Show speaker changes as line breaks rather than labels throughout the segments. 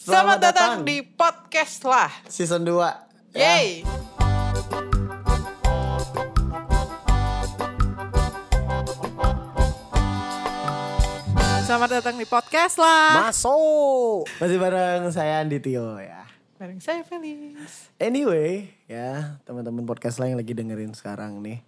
Selamat datang Ya. di podcast lah.
season ya. 2.
Yeay. Selamat datang di podcast lah.
Masuk. Masih bareng saya Andi Tio ya.
Bareng saya Felix.
Anyway, ya teman-teman podcast lain yang lagi dengerin sekarang nih.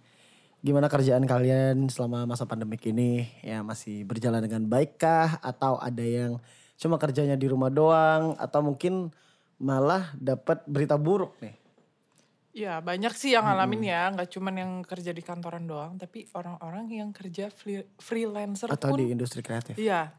Gimana kerjaan kalian selama masa pandemik ini? Ya masih berjalan dengan baik kah? Atau ada yang cuma kerjanya di rumah doang? Atau mungkin malah dapat berita buruk nih?
Ya banyak sih yang ngalamin ya, nggak cuman yang kerja di kantoran doang, tapi orang-orang yang kerja free- freelancer
Atau
pun,
di Hmm. industri kreatif?
iya,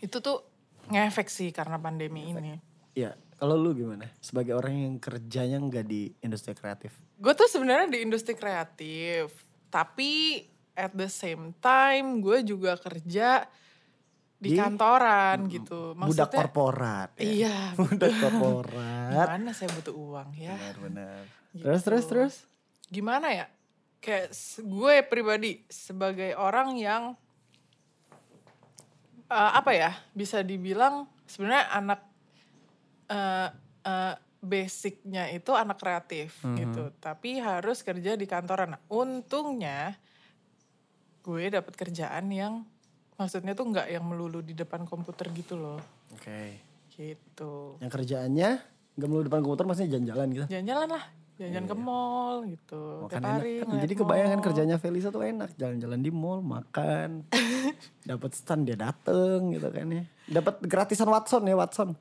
itu tuh ngefek sih karena pandemi ini.
Ya, kalau lu gimana? Sebagai orang yang kerjanya nggak di industri kreatif?
Gue tuh sebenarnya di industri kreatif, tapi at the same time gue juga kerja di,
Di-
kantoran gitu.
Budak korporat. ya.
Iya.
Budak korporat.
Gimana saya butuh uang ya?
Benar-benar.
Gitu.
Terus terus terus.
Gimana ya? Kayak se- gue pribadi sebagai orang yang eh, apa ya? Bisa dibilang sebenarnya anak eh, eh, basicnya itu anak kreatif
Mhm.
gitu, tapi harus kerja di kantoran. Nah, untungnya gue dapat kerjaan yang maksudnya tuh nggak yang melulu di depan komputer gitu loh.
Oke.
Gitu.
Yang kerjaannya nggak melulu depan komputer maksudnya jalan-jalan gitu.
jalan-jalan lah jalan-jalan ke mall gitu
Iya. Makan
tiap
enak.
hari
Kan
ngeliat
jadi kebayangan
mall.
kerjanya Felisa tuh enak, jalan-jalan di mall, makan. Dapat stand dia dateng gitu kan ya. Dapat gratisan Watson ya Watson.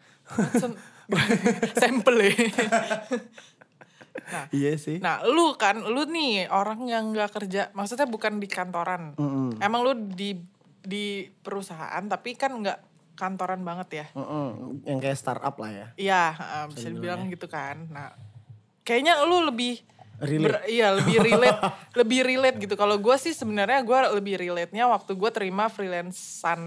Sen- sampel ya nah
iya sih.
nah lu kan lu nih orang yang nggak kerja maksudnya bukan di kantoran
Mm-mm.
emang lu di di perusahaan tapi kan nggak kantoran banget ya
Mm-mm. Yang kayak startup lah ya.
iya eh, bisa dibilang gitu kan nah kayaknya lu lebih
Relate.
ber- iya lebih relate lebih relate gitu kalau gue sih sebenarnya gue lebih relate nya waktu gue terima freelancean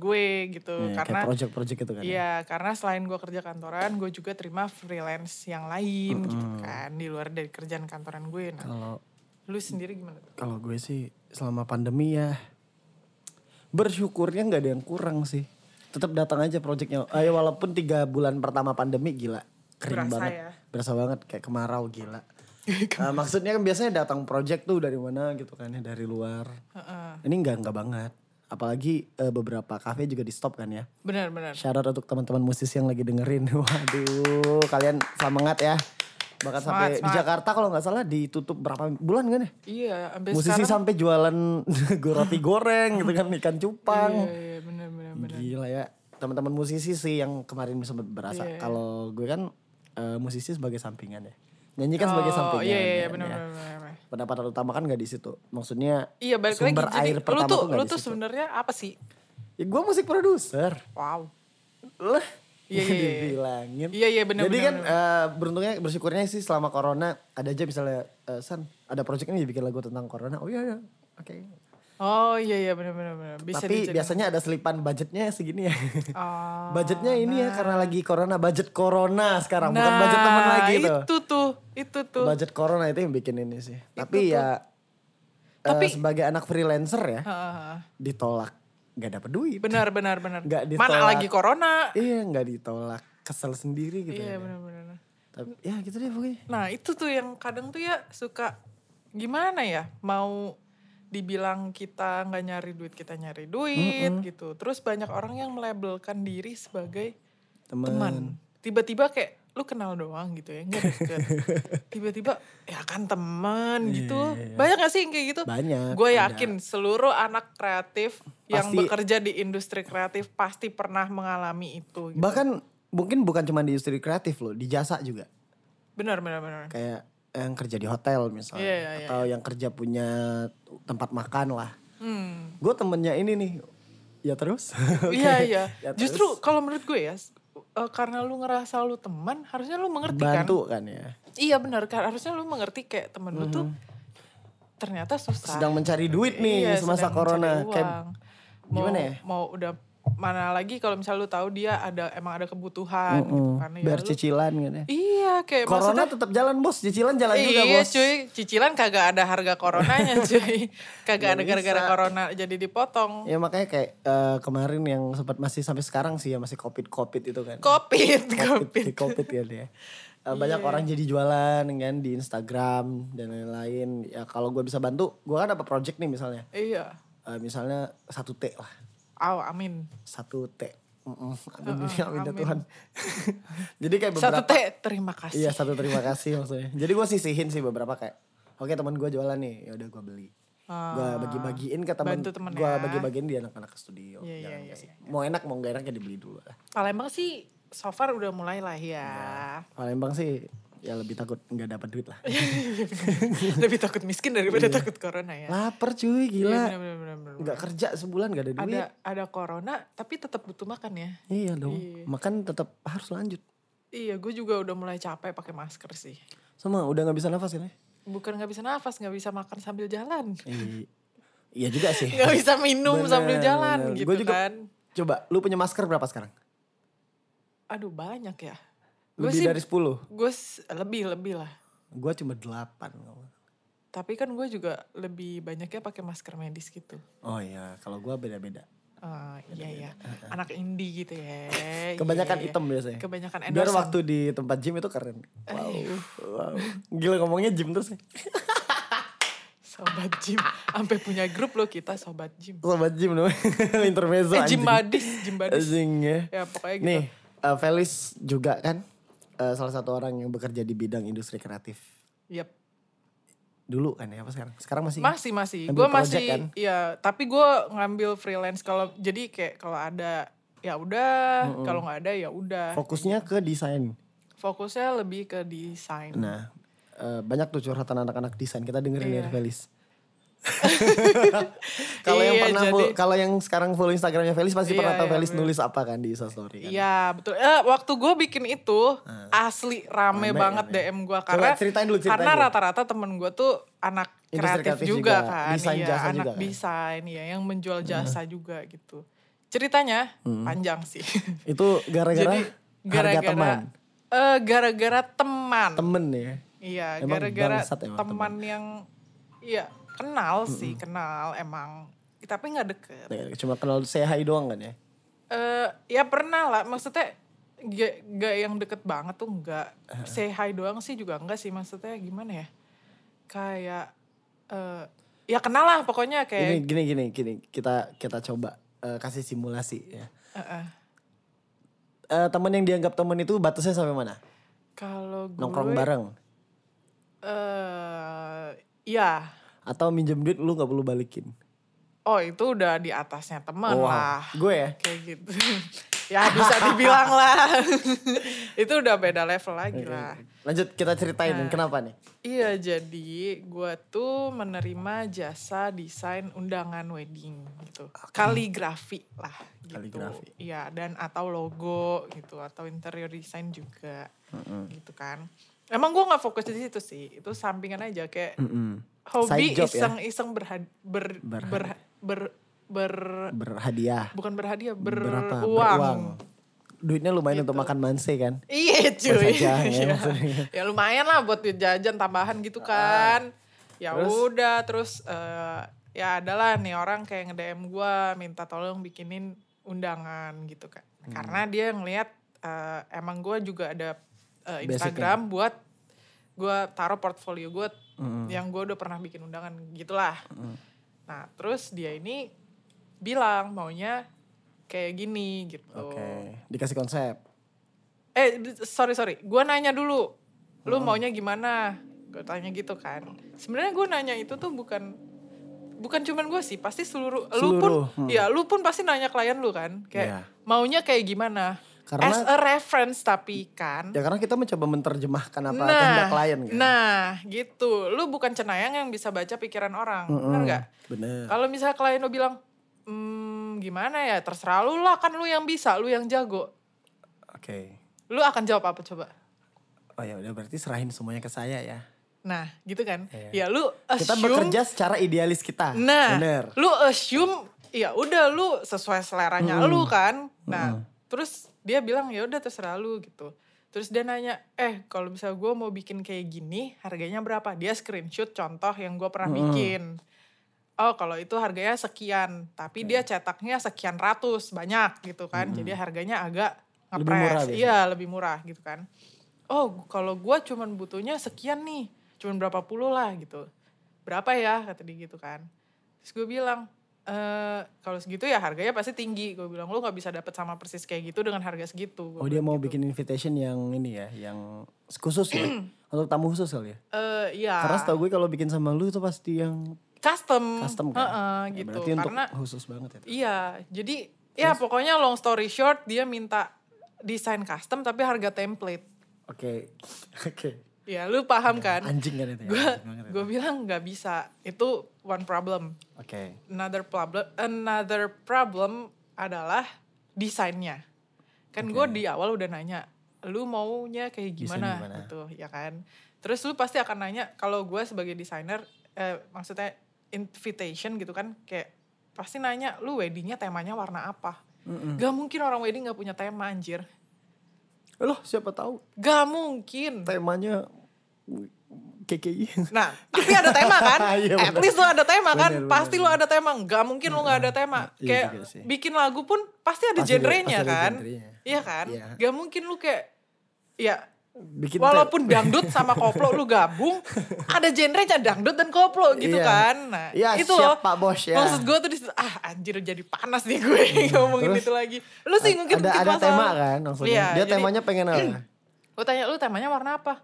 gue gitu
Ya,
karena
kayak project-project gitu kan. ya.
Iya, karena selain gue kerja kantoran, gue juga terima freelance yang lain gitu kan, di luar dari kerjaan kantoran gue. Nah,
Kalau
lu sendiri gimana? tuh?
kalau gue sih selama pandemi ya bersyukurnya nggak ada yang kurang sih tetap datang aja proyeknya ayo walaupun tiga bulan pertama pandemi gila kering
Berasa
banget
ya.
berasa banget kayak kemarau gila Nah, maksudnya kan biasanya datang project tuh dari mana gitu kan ya dari luar
Heeh.
ini nggak nggak banget apalagi eh, beberapa kafe juga di stop kan ya
Benar-benar.
Shout out untuk teman-teman musisi yang lagi dengerin. Waduh, kalian semangat ya. Bahkan sampai
Semangat,
di
semangat.
Jakarta kalau nggak salah ditutup berapa bulan kan ya?
Iya, sampai
musisi
sekarang.
sampai jualan go- roti goreng gitu kan ikan cupang
Iya, iya, benar-benar. benar.
gila ya teman-teman musisi sih yang kemarin sempat berasa
Iya, iya.
kalau gue kan eh, musisi sebagai sampingan ya nyanyi kan sebagai
Oh,
sampingan
iya,
kan
iya,
ya.
benar-benar. benar-benar.
pendapatan utama kan nggak di situ maksudnya
Iya, balik lagi.
sumber
Jadi,
air
lu
pertama
tuh,
tuh nggak
lu
di
tuh
situ.
sebenarnya apa sih?
ya, gue musik produser
Wow.
lah
Iya, iya, iya.
dibilangin
Iya, iya, benar,
jadi
benar,
kan eh, beruntungnya bersyukurnya sih selama corona ada aja misalnya eh, san ada project ini bikin lagu tentang corona oh iya iya oke
Oh, iya, iya, benar-benar. benar. Bisa
Tapi
dijadikan-
biasanya ada selipan budgetnya segini ya.
Oh,
budgetnya ini ya karena lagi corona, budget corona sekarang bukan
nah,
budget teman lagi tuh.
Itu tuh, itu tuh.
Budget corona itu yang bikin ini sih. Tapi ya eh,
Tapi-
sebagai anak freelancer ya
Heeh.
ditolak, nggak dapet duit.
Benar, benar, benar.
Nggak
Mana
ditolak.
lagi corona?
Iya nggak ditolak, kesel sendiri gitu. ya.
Iya, benar-benar.
Tapi ya gitu deh pokoknya.
Nah itu tuh yang kadang tuh ya suka gimana ya mau dibilang kita nggak nyari duit kita nyari duit gitu terus banyak orang yang melabelkan diri sebagai
Teman.
teman tiba-tiba kayak lu kenal doang gitu ya nggak deket tiba-tiba ya kan teman gitu banyak gak sih yang kayak gitu
Iya, Banyak,
gue yakin seluruh anak kreatif yang
Pasti-
bekerja di industri kreatif pasti pernah mengalami itu gitu.
Bahkan mungkin bukan cuma di industri kreatif loh, di jasa juga.
benar benar benar
kayak yang kerja di hotel misalnya
Iya, iya, iya.
atau yang kerja punya tempat makan lah.
hmm.
Gue temennya ini nih. Ya terus? Oke.
Iya iya.
Ya terus?
Justru kalau menurut gue ya, s- eh, karena lu ngerasa lu teman, harusnya lu mengerti kan.
bantu kan ya.
Iya benar kan. Harusnya lu mengerti kayak temen lu tuh ternyata susah.
Mhm. Sedang mencari duit nih
Iya,
semasa
sedang
corona.
mencari Kan,
Kayak
uang. Mau,
gimana ya?
Mau udah mana lagi kalau misalnya lu tahu dia ada emang ada kebutuhan gitu
Mm-mm.
kan ya
Mhm. Biar
lu-
cicilan gitu.
iya kayak
Corona
maksudnya
tetap jalan bos, cicilan jalan juga
iya
bos.
cuy cicilan kagak ada harga coronanya
Nggak
cuy kagak ada gara-gara
bisa.
corona jadi dipotong
Ya makanya kayak eh, kemarin yang sempat masih sampai sekarang sih ya masih covid-covid itu kan.
covid
Covid,
covid Iya,
di covid ya dia. Eh, banyak orang jadi jualan kan di Instagram dan lain-lain. Ya kalau gue bisa bantu, gue kan dapat project nih misalnya.
iya
Eh, misalnya satu T lah,
aw amin
satu T. Mm-mm. Amin, amin ya Tuhan. jadi kayak
Oh, satu
beberapa
t terima kasih
Iya satu terima kasih maksudnya. Jadi gue sisihin sih beberapa kayak, oke teman gue jualan nih, ya udah gue beli.
Ah.
gue bagi-bagiin ke teman,
bantu temen
gue
ya.
bagi-bagiin di anak-anak ke studio.
Iya,
Jangan
iya,
gak sih. Mau enak mau gak enak ya dibeli dulu. lah.
Palembang sih so far udah mulai lah ya.
Palembang sih ya lebih takut nggak dapat duit lah.
Iya. Lebih takut miskin daripada takut corona ya.
Laper cuy
Iya,
Iya. gila.
bener, bener, bener, bener.
Nggak kerja sebulan nggak ada duit.
Ada ada corona tapi tetap butuh makan ya.
Iya dong.
Iya.
Makan tetap harus lanjut.
Iya, gue juga udah mulai capek pakai masker sih.
Sama udah nggak bisa nafas kan ya? ini.
Bukan nggak bisa nafas, nggak bisa makan sambil jalan,
Iya. Iya juga sih.
nggak bisa minum
Bener,
sambil jalan
bener.
gitu
Gua juga-
kan.
Coba lu punya masker berapa sekarang?
Aduh banyak ya. Gue
Lebih
sih
dari 10.
gue s- lebih lebih lah.
Gue cuma 8.
Tapi kan gue juga lebih banyaknya pakai masker medis gitu.
Oh iya, kalau gua beda-beda.
Ah, iya ya, anak indie gitu ya.
Kebanyakan
Iya, iya.
hitam biasanya.
Kebanyakan
Biar
Anderson.
waktu di tempat gym itu keren. Wow. wow. Gila ngomongnya gym terus ya.
Sobat gym, sampai punya grup loh kita sobat gym.
Tempat gym namanya. Intermezzo
Eh
anjing.
gym badis, gym badis.
Anjing ya.
Ya pokoknya gitu.
Nih, eh, Felis juga kan eh, salah satu orang yang bekerja di bidang industri kreatif.
Yep.
Dulu kan ya, apa sekarang? Sekarang masih.
Masih masih,
Ambil
gue
project
masih,
kan?
ya. Tapi gue ngambil freelance kalau jadi kayak kalau ada ya udah, kalau nggak ada ya udah.
Fokusnya ke desain.
Fokusnya lebih ke desain.
Nah, eh, banyak tuh curhatan anak-anak desain. Kita dengerin dari
Iya.
Felis. kalau yang
Iya,
pernah
jadi-
full- kalau yang sekarang follow Instagramnya Felis pasti
Iya,
pernah tahu
iya,
Felis
bener.
nulis apa kan di Instastory kan. Hmm.
Iya betul. Eh, waktu gue bikin itu asli
Rame
rame, banget
kan ya.
DM gue
Coba
karena
ceritain dulu, ceritain
karena
dulu.
rata-rata temen gue tuh anak
Industri
kreatif,
kreatif
juga,
juga,
kan,
desain
iya,
jasa
anak
juga kan. Hmm.
desain ya yang menjual jasa juga gitu. Ceritanya panjang sih.
Itu Hmm. gara-gara
Jadi
harga teman.
gara-gara eh, gara-gara teman.
Temen ya.
Iya,
Emang
gara-gara
bangsat
teman,
emang teman. Hmm.
yang iya kenal sih, kenal emang. Tapi nggak deket.
Cuma kenal say hi doang kan ya.
eh ya pernah lah maksudnya gak, gak yang deket banget tuh enggak say hi doang sih juga enggak sih maksudnya gimana ya kayak eh ya kenal lah pokoknya
Ini
kayak
gini gini gini kita kita coba eh, kasih simulasi ya.
eh, eh.
Eh, teman yang dianggap teman itu batasnya sampai mana?
kalau gue
Nongkrong bareng
eh, ya
atau minjem duit lu nggak perlu balikin.
oh itu udah di atasnya teman
Wow.
lah
Gue ya.
kayak gitu ya bisa dibilang lah itu udah beda level lagi lah
Lanjut kita ceritain
Nah.
kenapa nih?
Iya, jadi gue tuh menerima jasa desain undangan wedding gitu. Kaligrafi lah gitu.
Kaligrafi.
Iya, dan atau logo gitu, atau interior design juga gitu kan. Emang gue gak fokus di situ sih, itu sampingan aja kayak
Mm-mm.
hobi
Mm, Side job ya?
iseng-iseng berhad- ber,
Berhad-
ber, ber, ber-
Berhadiah.
bukan berhadiah,
berapa
beruang. Gitu.
beruang duitnya lumayan untuk makan manse kan
Iya cuy.
aja, ya,
Iya.
maksudnya.
ya lumayan lah buat duit jajan tambahan gitu kan.
Ah.
ya
Terus?
udah terus eh, ya adalah nih orang kayak nge-DM gue minta tolong bikinin undangan gitu kan.
Hmm.
Karena dia ngelihat eh, emang gue juga ada eh,
Basic ya?
Instagram buat gue taruh portfolio gue
Hmm.
yang gue udah pernah bikin undangan gitulah. Nah terus dia ini bilang maunya kayak gini gitu.
oke dikasih konsep
Eh, d- sorry sorry, gue nanya dulu, lu maunya gimana? Gue tanya gitu kan. Sebenarnya gue nanya itu tuh bukan bukan cuman gue sih, pasti seluruh, lu pun,
Seluruh, hmm.
ya lu pun pasti nanya klien lu kan,
Iya.
kayak maunya kayak gimana?
Karena-
As a reference tapi kan.
ya karena kita mencoba menerjemahkan apa
Nah,
kehendak klien kan
nah gitu, lu bukan cenayang yang bisa baca pikiran orang,
Mm-mm. Iya.
bener nggak?
bener
Kalau misalnya klien lu bilang, hmm, gimana ya, terserah lu lah, kan lu yang bisa, lu yang jago,
oke
lu akan jawab apa coba?
oh ya udah berarti serahin semuanya ke saya ya
Nah, gitu kan.
Iya.
Ya lu
kita
assume.
bekerja secara idealis kita
Nah,
bener
lu assume ya udah lu sesuai seleranya lu kan nah terus dia bilang ya udah terserah lu gitu terus dia nanya eh kalau bisa gue mau bikin kayak gini harganya berapa dia screenshot contoh yang gue pernah
Mm-mm.
bikin oh kalau itu harganya sekian tapi dia
Iya.
cetaknya sekian ratus banyak gitu kan jadi harganya agak
Lebih murah
ngepres
biasanya.
iya lebih murah gitu kan oh kalau gue cuman butuhnya sekian nih cuman berapa puluh lah gitu berapa ya kata dia gitu kan terus gue bilang eh kalau segitu ya harganya pasti tinggi gue bilang lu nggak bisa dapet sama persis kayak gitu dengan harga segitu Gua
Oh dia
bilang
mau
gitu.
bikin invitation yang ini ya, yang khusus ya, untuk tamu khusus kali ya.
eh iya
Karena setahu gue kalau bikin sama lu itu pasti yang
custom
custom kan.
Hmm. Heeh,
Ya,
gitu
berarti
karena
untuk khusus banget ya.
iya jadi ya pokoknya long story short dia minta desain custom tapi harga template
Oke, oke.
ya lu paham kan
Anjing kan itu ya.
gue
anjing banget itu.
gue bilang nggak bisa itu one problem
Oke.
another problem another problem adalah desainnya kan gue di awal udah nanya lu maunya kayak
Desainnya
gimana,
gimana?
gitu ya kan terus lu pasti akan nanya kalau gue sebagai desainer eh, maksudnya invitation gitu kan kayak pasti nanya lu weddingnya temanya warna apa gak mungkin orang wedding gak punya tema anjir
Loh siapa tahu
gak mungkin
temanya KKI.
Nah, tapi ada tema kan?
Iya,
At
bener.
least lo ada tema kan?
Bener, bener,
pasti lo ada tema. Gak mungkin lo gak ada tema.
iya
kayak
juga sih.
bikin lagu pun pasti ada
Pasti ada-
genrenya
pasti ada
kan?
genrenya.
Iya kan?
Iya.
Gak mungkin lo kayak ya
Bikin
walaupun dangdut sama koplo lu gabung, ada genrenya dangdut dan koplo gitu
Iya.
kan. Nah,
Iya,
itu
siap,
loh.
Pak Bos, ya. Iya,
Maksud gue tuh di situ, ah anjir jadi panas nih gue ngomongin
terus?
itu lagi. Lu sih mungkin Iya,
ada ada tema kan maksudnya. dia temanya pengen apa?
Gue tanya lu temanya warna apa?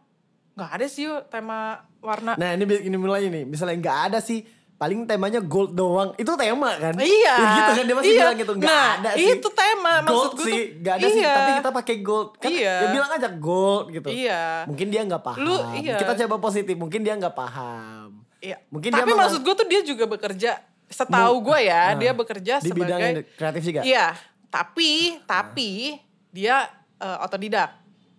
Gak ada sih yuk tema warna
Nah ini bi- ini mulai nih, misalnya nggak ada sih, paling temanya gold doang. Itu tema kan?
Iya.
Ya gitu kan dia masih
Iya.
bilang gitu, nggak
Nah,
ada sih.
itu tema, maksud
gold
gue
sih,
tuh-
nggak ada sih.
iya.
Tapi kita pakai gold. Kan
Iya.
dia bilang aja gold gitu.
Iya.
Mungkin dia nggak paham.
Lu- iya.
Kita coba positif, mungkin dia nggak paham.
Iya.
Mungkin
Tapi
dia mengang-
maksud gue tuh dia juga bekerja setahu gue ya,
Nah,
dia bekerja
di
sebagai
bidang yang kreatif juga.
Iya, tapi tapi dia eh, otodidak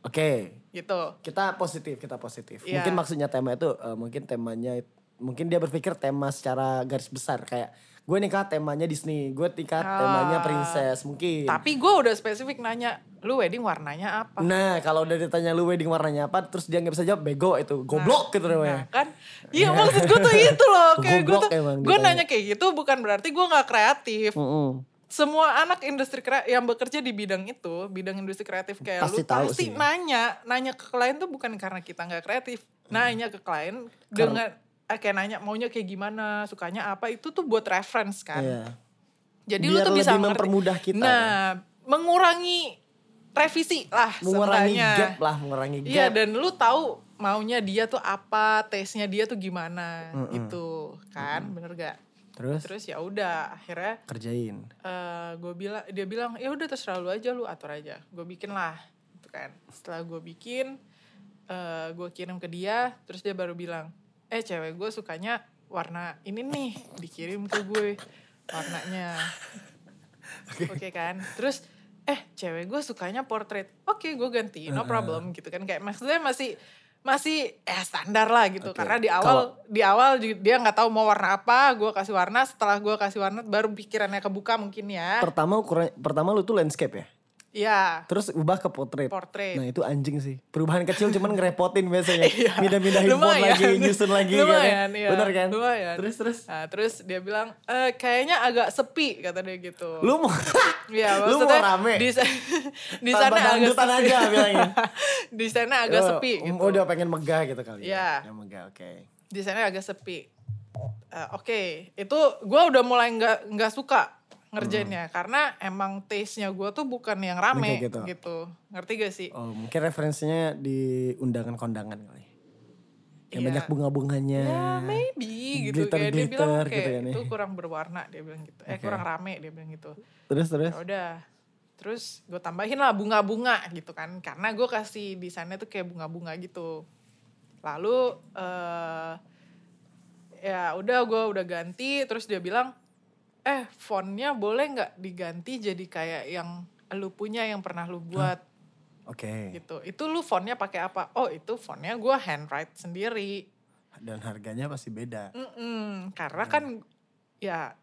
Oke.
gitu.
kita positif kita positif
Iya.
mungkin maksudnya tema itu eh, mungkin temanya mungkin dia berpikir tema secara garis besar kayak gue nikah temanya Disney gue nikah temanya
Ah,
princess mungkin
Tapi gue udah spesifik nanya, lu wedding warnanya apa?
nah kalau udah ditanya lu wedding warnanya apa terus dia nggak bisa jawab bego itu goblok gitu
Nah,
namanya
kan? Iya maksud gue tuh itu loh, kayak gue
Goblok
tuh,
emang
gue
ditanya.
nanya kayak gitu bukan berarti gue nggak kreatif.
Mm-mm.
Semua anak industri kre- yang bekerja di bidang itu, bidang industri kreatif kayak
Pasti
lu,
tahu sih.
pasti nanya, nanya ke klien tuh bukan karena kita nggak kreatif,
Hmm.
nanya ke klien dengan eh, kayak nanya maunya kayak gimana, sukanya apa itu tuh buat reference kan.
Iya.
Jadi lu
Biar
tuh bisa
lebih
mengerti.
mempermudah kita, ya.
Nah, mengurangi revisi lah
mengurangi
seenggaknya.
gap lah mengurangi gap
Iya, dan lu tahu maunya dia tuh apa, tesnya dia tuh gimana gitu kan, bener gak?
terus,
Terus ya udah akhirnya
kerjain
eh gue bilang dia bilang ya udah terserah lu aja lu atur aja gue bikin lah gitu kan setelah gue bikin eh gue kirim ke dia terus dia baru bilang eh cewek gue sukanya warna ini nih dikirim ke gue warnanya oke kan terus eh cewek gue sukanya portrait oke gue ganti no problem gitu kan kayak maksudnya masih masih eh standar lah gitu
Oke,
karena di awal di awal ju- dia nggak tahu mau warna apa gue kasih warna setelah gue kasih warna baru pikirannya kebuka mungkin ya
pertama ukuran pertama lu tuh landscape ya
ya
terus ubah ke portrait
portrait
Nah itu anjing sih. Perubahan kecil cuman ngerepotin biasanya. Mindah-mindahin font
Iya. Lumayan.
lagi, nyusun lagi. gitu
Lumayan, iya.
Bener kan?
Lumayan.
Terus, terus.
Nah, terus dia bilang "Eh, kayaknya agak sepi kata dia gitu
Lu mau,
Iya,
lu mau
maksudnya
rame?
di, di
Tanpa
sana agak
dangdutan
sepi.
aja bilangin.
di sana agak
Oh,
sepi gitu.
Udah pengen megah gitu kali
Iya.
ya. Yang megah, oke.
Di sana agak sepi. Eh, Oke, itu gue udah mulai nggak nggak suka ngerjainnya karena emang taste-nya gue tuh bukan yang
Oke,
rame
Hmm. gitu.
gitu. Ngerti gak sih?
Oh mungkin referensinya di undangan-kondangan kali. Yang
Iya.
banyak bunga-bunganya.
Ya maybe gitu kayak dia
Glitter-glitter
bilang kayak
gitu ya nih.
itu kurang berwarna dia bilang gitu.
Oke.
Eh kurang rame dia bilang gitu.
Terus, terus.
Ya udah. Terus gue tambahin lah bunga-bunga gitu kan. Karena gue kasih desainnya tuh kayak bunga-bunga gitu. Lalu eh ya udah gue udah ganti. Terus dia bilang, eh fontnya boleh nggak diganti jadi kayak yang lu punya yang pernah lu buat
Oke.
gitu. Itu lu fontnya pakai apa? Oh itu fontnya gue handwrite sendiri.
Dan harganya pasti beda.
Mm-mm, Karena kan ya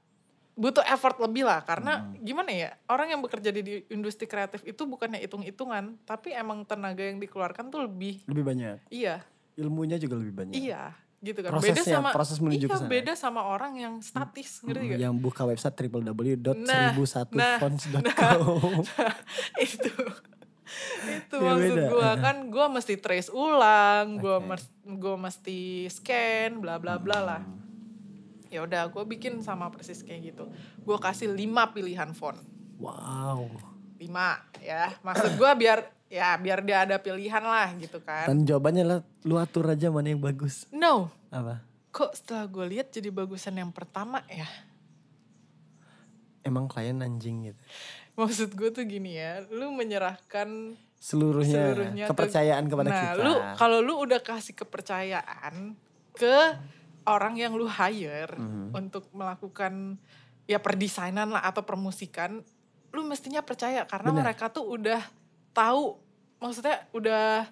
butuh effort lebih lah karena
Hmm.
gimana ya orang yang bekerja di, di industri kreatif itu bukannya hitung-hitungan tapi emang tenaga yang dikeluarkan tuh lebih
Lebih banyak.
iya
Ilmunya juga lebih banyak.
iya gitu kan beda
Prosesnya,
sama
proses menuju
iya
ke sana.
beda sama orang yang statis gitu
Mm, Yang buka website www.1001fonts.com.
nah, itu itu
Iya,
maksud
beda.
gue kan gue mesti trace ulang gue
Oke.
gue mesti scan bla bla bla lah
Hmm.
ya udah gue bikin sama persis kayak gitu gue kasih lima pilihan font
Wow.
lima ya maksud gue biar ya biar dia ada pilihan lah gitu kan
Dan jawabannya lah lu atur aja mana yang bagus.
no
Apa?
kok setelah gue lihat jadi bagusan yang pertama ya
Emang klien anjing gitu.
maksud gue tuh gini ya lu menyerahkan
Seluruhnya,
Seluruhnya tuh-
kepercayaan kepada
nah,
kita.
lu kalau lu udah kasih kepercayaan ke orang yang lu hire
Mhm.
untuk melakukan ya perdesainan lah atau permusikan, lu mestinya percaya karena
Benar.
mereka tuh udah tahu maksudnya udah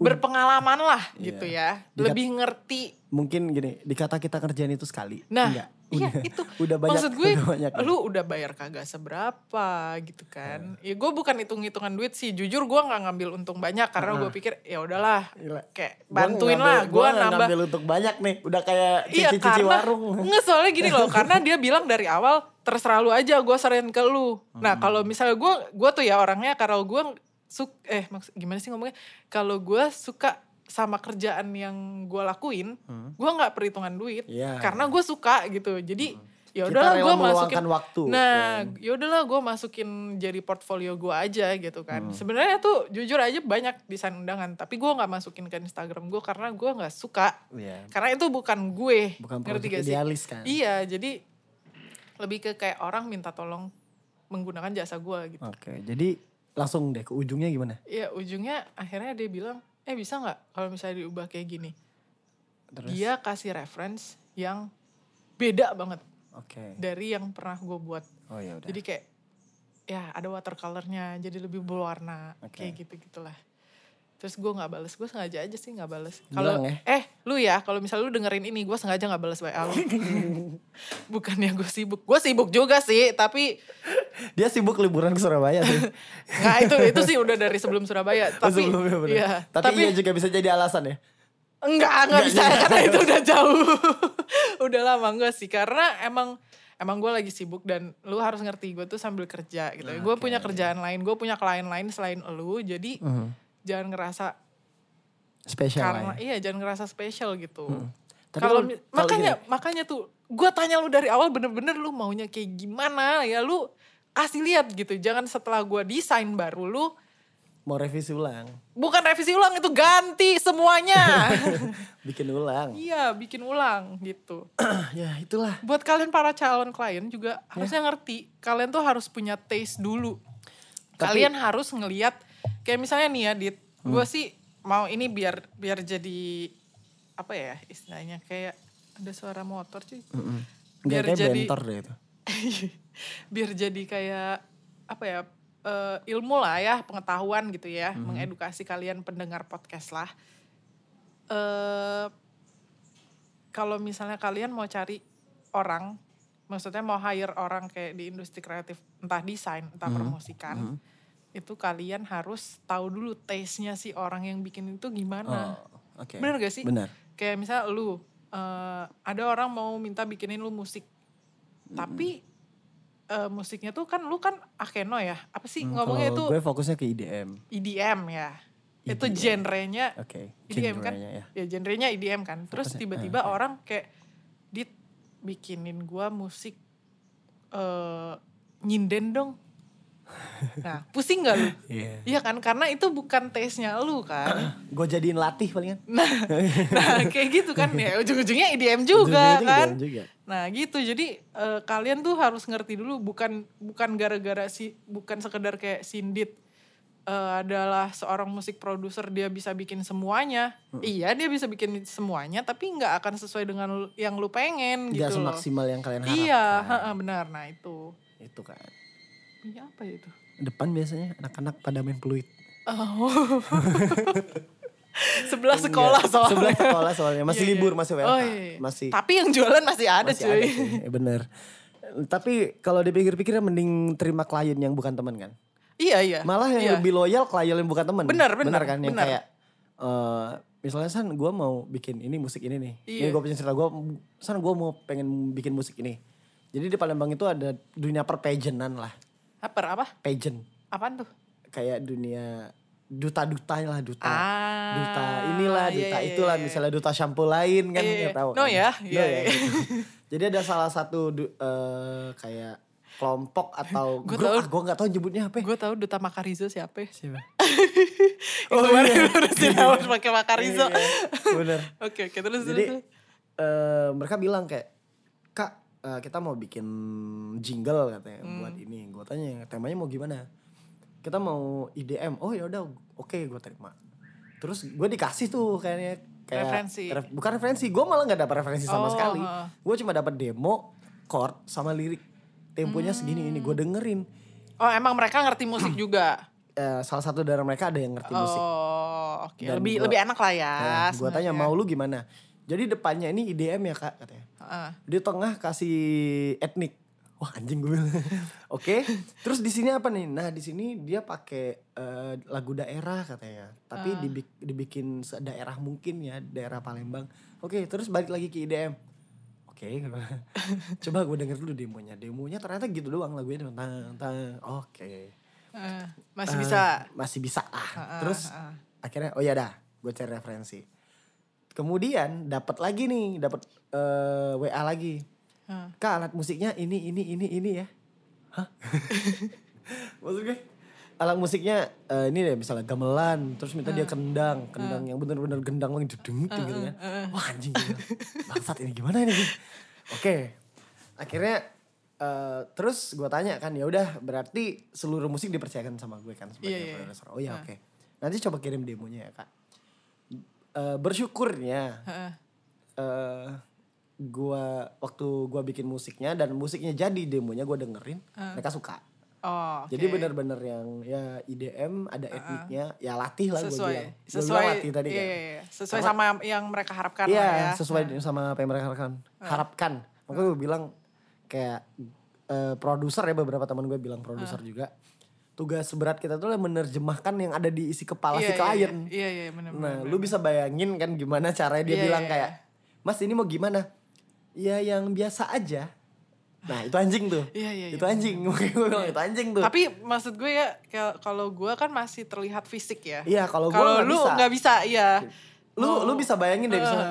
berpengalaman lah gitu ya,
Dikat-
lebih ngerti.
Mungkin gini, dikata kita kerjaan itu sekali.
Nah,
Enggak.
iya
Udah-
itu.
Udah banyak
Maksud gue,
udah banyak.
lu udah bayar kagak seberapa gitu kan?
Iya.
Ya gue bukan hitung-hitungan duit sih, jujur gue nggak ngambil untung banyak karena gue pikir ya udahlah
Gila.
kayak
Nah. Gua
bantuin
ngambil-
lah gue
gua nggak
nambah
ngambil untuk banyak nih udah kayak
iya
cici-cici
karena
warung
nggak soalnya gini loh karena dia bilang dari awal terserah lu aja gue saranin ke lu
Hmm.
nah kalau misalnya gue gue tuh ya orangnya kalau gue suk eh maksud gimana sih ngomongnya kalau gue suka sama kerjaan yang gue lakuin gue nggak perhitungan duit
Hmm. Iya. Hmm.
karena gue suka gitu jadi ya
Kita
udahlah
rela
gue
meluangkan
masukin
waktu,
nah ya udahlah gue masukin jadi portfolio gue aja gitu
Hmm.
kan sebenarnya tuh jujur aja banyak desain undangan tapi gue nggak masukin ke instagram gue karena gue nggak suka
Iya.
karena itu bukan gue
bukan
ngerti
produk
gak sih
idealis kan
iya jadi lebih ke kayak orang minta tolong menggunakan jasa gue gitu
oke jadi langsung deh ke ujungnya gimana
ya ujungnya akhirnya dia bilang eh bisa nggak kalau misalnya diubah kayak gini
terus
dia kasih reference yang beda banget
oke
dari yang pernah gue buat
oh ya udah
jadi kayak ya ada watercolornya jadi lebih berwarna
Oke.
kayak gitu gitulah terus gue nggak bales gue sengaja aja sih nggak bales
Bilang
kalau
ya.
eh lu ya kalau misalnya lu dengerin ini gue sengaja nggak bales wa lu bukannya gue sibuk gue sibuk juga sih tapi
dia sibuk liburan ke Surabaya sih
nggak itu itu sih udah dari sebelum Surabaya tapi
Oh, Sebelumnya bener.
iya,
tapi, iya juga bisa jadi alasan ya
Enggak, enggak bisa karena itu udah jauh. udah lama enggak sih karena emang emang gue lagi sibuk dan lu harus ngerti gue tuh sambil kerja gitu. Gue punya kerjaan lain, gue punya klien lain selain lu. Jadi jangan ngerasa
spesial
karena
lah ya.
iya jangan ngerasa spesial gitu.
Hmm. Tapi
Kalau
kalau-
mi-
kalau
makanya makanya tuh gue tanya lu dari awal bener-bener lu maunya kayak gimana ya lu kasih lihat gitu. Jangan setelah gue desain baru lu
mau revisi ulang
bukan revisi ulang itu ganti semuanya.
bikin ulang
iya, bikin ulang gitu.
ya itulah
buat kalian para calon klien juga harusnya ngerti kalian tuh harus punya taste dulu
Tapi-
kalian harus ngeliat kayak misalnya nih ya dit gue sih mau ini biar biar jadi apa ya istilahnya kayak ada suara motor cuy
nggak
Biar
kayak
jadi-
bentor deh itu
biar jadi kayak apa ya eh, ilmu lah ya pengetahuan gitu ya mengedukasi kalian pendengar podcast lah eh kalau misalnya kalian mau cari orang maksudnya mau hire orang kayak di industri kreatif entah desain entah promosikan itu kalian harus tahu dulu taste-nya si orang yang bikin itu gimana
oh oke
Nah. bener gak sih
benar
kayak misalnya lu eh, ada orang mau minta bikinin lu musik tapi eh, musiknya tuh kan lu kan akeno ya apa sih ngomongnya itu
Hmm, Mm, Kalau gue fokusnya ke IDM
EDM ya itu
EDM.
genrenya
E oke
EDM kan
genrenya ya.
ya genrenya EDM kan terus
Fokusnya,
tiba-tiba orang kayak dit bikinin gua musik eh nyinden dong nah pusing gak lu
Iya.
Iya kan karena itu bukan taste-nya lu kan
gue jadiin latih palingan
Nah, nah, kayak gitu kan ya ujung-ujungnya IDM
Ujung-ujungnya
juga
E
kan.
IDM juga.
Nah gitu jadi eh, kalian tuh harus ngerti dulu bukan bukan gara-gara si bukan sekedar kayak Sindit eh, adalah seorang musik produser dia bisa bikin semuanya. Iya dia bisa bikin semuanya tapi nggak akan sesuai dengan lu- yang lu pengen
nggak
gitu loh.
semaksimal yang kalian harapkan
Iya ha-ha, benar nah itu.
itu kan
Iya apa ya itu?
depan biasanya anak-anak pada main peluit
Oh. sebelah sekolah soalnya.
Iya. sebelah sekolah soalnya masih
Iya, iya.
libur masih WFH
Oh, iya, iya.
masih
Tapi yang jualan masih ada
masih
cuy.
ada cuy. Eh, bener Tapi kalau dipikir-pikir mending terima klien yang bukan teman kan.
Iya iya.
Malah yang
Iya.
lebih loyal klien yang bukan teman.
Benar, benar,
kan yang
benar.
kayak eh, misalnya San gue mau bikin ini musik ini nih. Ini
Iya.
gue punya cerita gue San gue mau pengen bikin musik ini. Jadi di Palembang itu ada dunia perpagenan lah.
Apa apa?
Pageant.
Apaan tuh?
Kayak dunia duta-dutanya lah duta.
Ah.
duta inilah,
iya,
duta
iya,
itulah,
iya.
misalnya duta shampoo lain kan
Iya,
nggak
iya.
tahu.
No
kan.
ya,
No
iya, iya.
gitu. Jadi ada salah satu du- eh, kayak kelompok atau
Gua
grup,
tahu.
ah, gua nggak tahu nyebutnya apa. ya.
Gue tahu duta Makarizo siapa ya?
Siapa?
Oh, kemarin lurusin harus pakai Makarizo.
Iya, iya. Bener.
Oke, oke terus
Jadi
terus.
eh, mereka bilang kayak kak eh, kita mau bikin jingle katanya
Hmm.
buat ini. Gue tanya temanya mau gimana? Kita mau IDM. Oh ya udah oke gue terima. Terus gue dikasih tuh kayaknya kayak
Referensi.
ref- bukan referensi. Gue malah nggak dapat referensi sama
Oh,
sekali.
heeh.
Gue cuma dapat demo, chord sama lirik. Temponya
Hmm.
segini ini gue dengerin.
Oh, emang mereka ngerti musik juga.
Eh, salah satu dari mereka ada yang ngerti musik.
Oh, oke.
Dan
Lebih
gua-
lebih enak lah ya.
gue tanya
sebenarnya.
mau lu gimana? Jadi depannya ini IDM ya kak katanya.
Heeh.
di tengah kasih etnik wah anjing gue bilang. oke terus di sini apa nih nah di sini dia pakai eh, lagu daerah katanya tapi dibik- dibikin daerah mungkin ya daerah Palembang oke terus balik lagi ke IDM oke coba gue denger dulu demonya demonya ternyata gitu doang lagunya tentang tentang oke
Eh, masih
Eh,
bisa.
masih bisa ah
Heeh,
terus
heeh.
akhirnya oh ya dah gue cari referensi kemudian dapat lagi nih dapat eh, wa lagi
Heeh.
kak alat musiknya ini ini ini ini ya hah maksud gue alat musiknya eh, ini deh misalnya gamelan terus minta
Ah.
dia kendang kendang yang bener-bener gendang yang jedung gitu kan
ah.
wah anjing gila. bangsat ini gimana ini oke akhirnya eh, terus gue tanya kan ya udah berarti seluruh musik dipercayakan sama gue kan sebagai
Iya, iya, iya.
produser oh ya oke nanti coba kirim demonya ya kak Eh, bersyukurnya
Heeh.
eh gua waktu gua bikin musiknya dan musiknya jadi demonya gua dengerin mereka suka
Oh, Ah. oke. Ah,
jadi bener-bener yang ya IDM ada etniknya ya latih lah gua
sesuai
bilang Gua bilang
sesuai
latih tadi
iya,
kan
iya, iya. sesuai sama yang mereka harapkan
iya
lah ya. Ah.
sesuai sama apa yang mereka harapkan harapkan makanya gua bilang kayak eh, produser ya beberapa teman gue bilang produser
Ah.
juga tugas berat kita tuh adalah menerjemahkan yang ada di isi kepala
Iya,
si
iya,
klien
Iya iya benar benar.
Nah, lu bisa bayangin kan gimana caranya dia
Iya,
bilang
iya,
kayak, "Mas, ini mau gimana?" "Ya yang biasa aja." Nah, itu anjing tuh.
Iya, iya,
Itu anjing. Makanya gue bilang itu anjing tuh.
Tapi maksud gue ya kayak kalau gue kan masih terlihat fisik ya.
Iya, kalau gue
Kalau
nggak
lu
bisa.
nggak bisa, iya.
Lu
Mau-
lu bisa bayangin deh
Eh.
misalnya,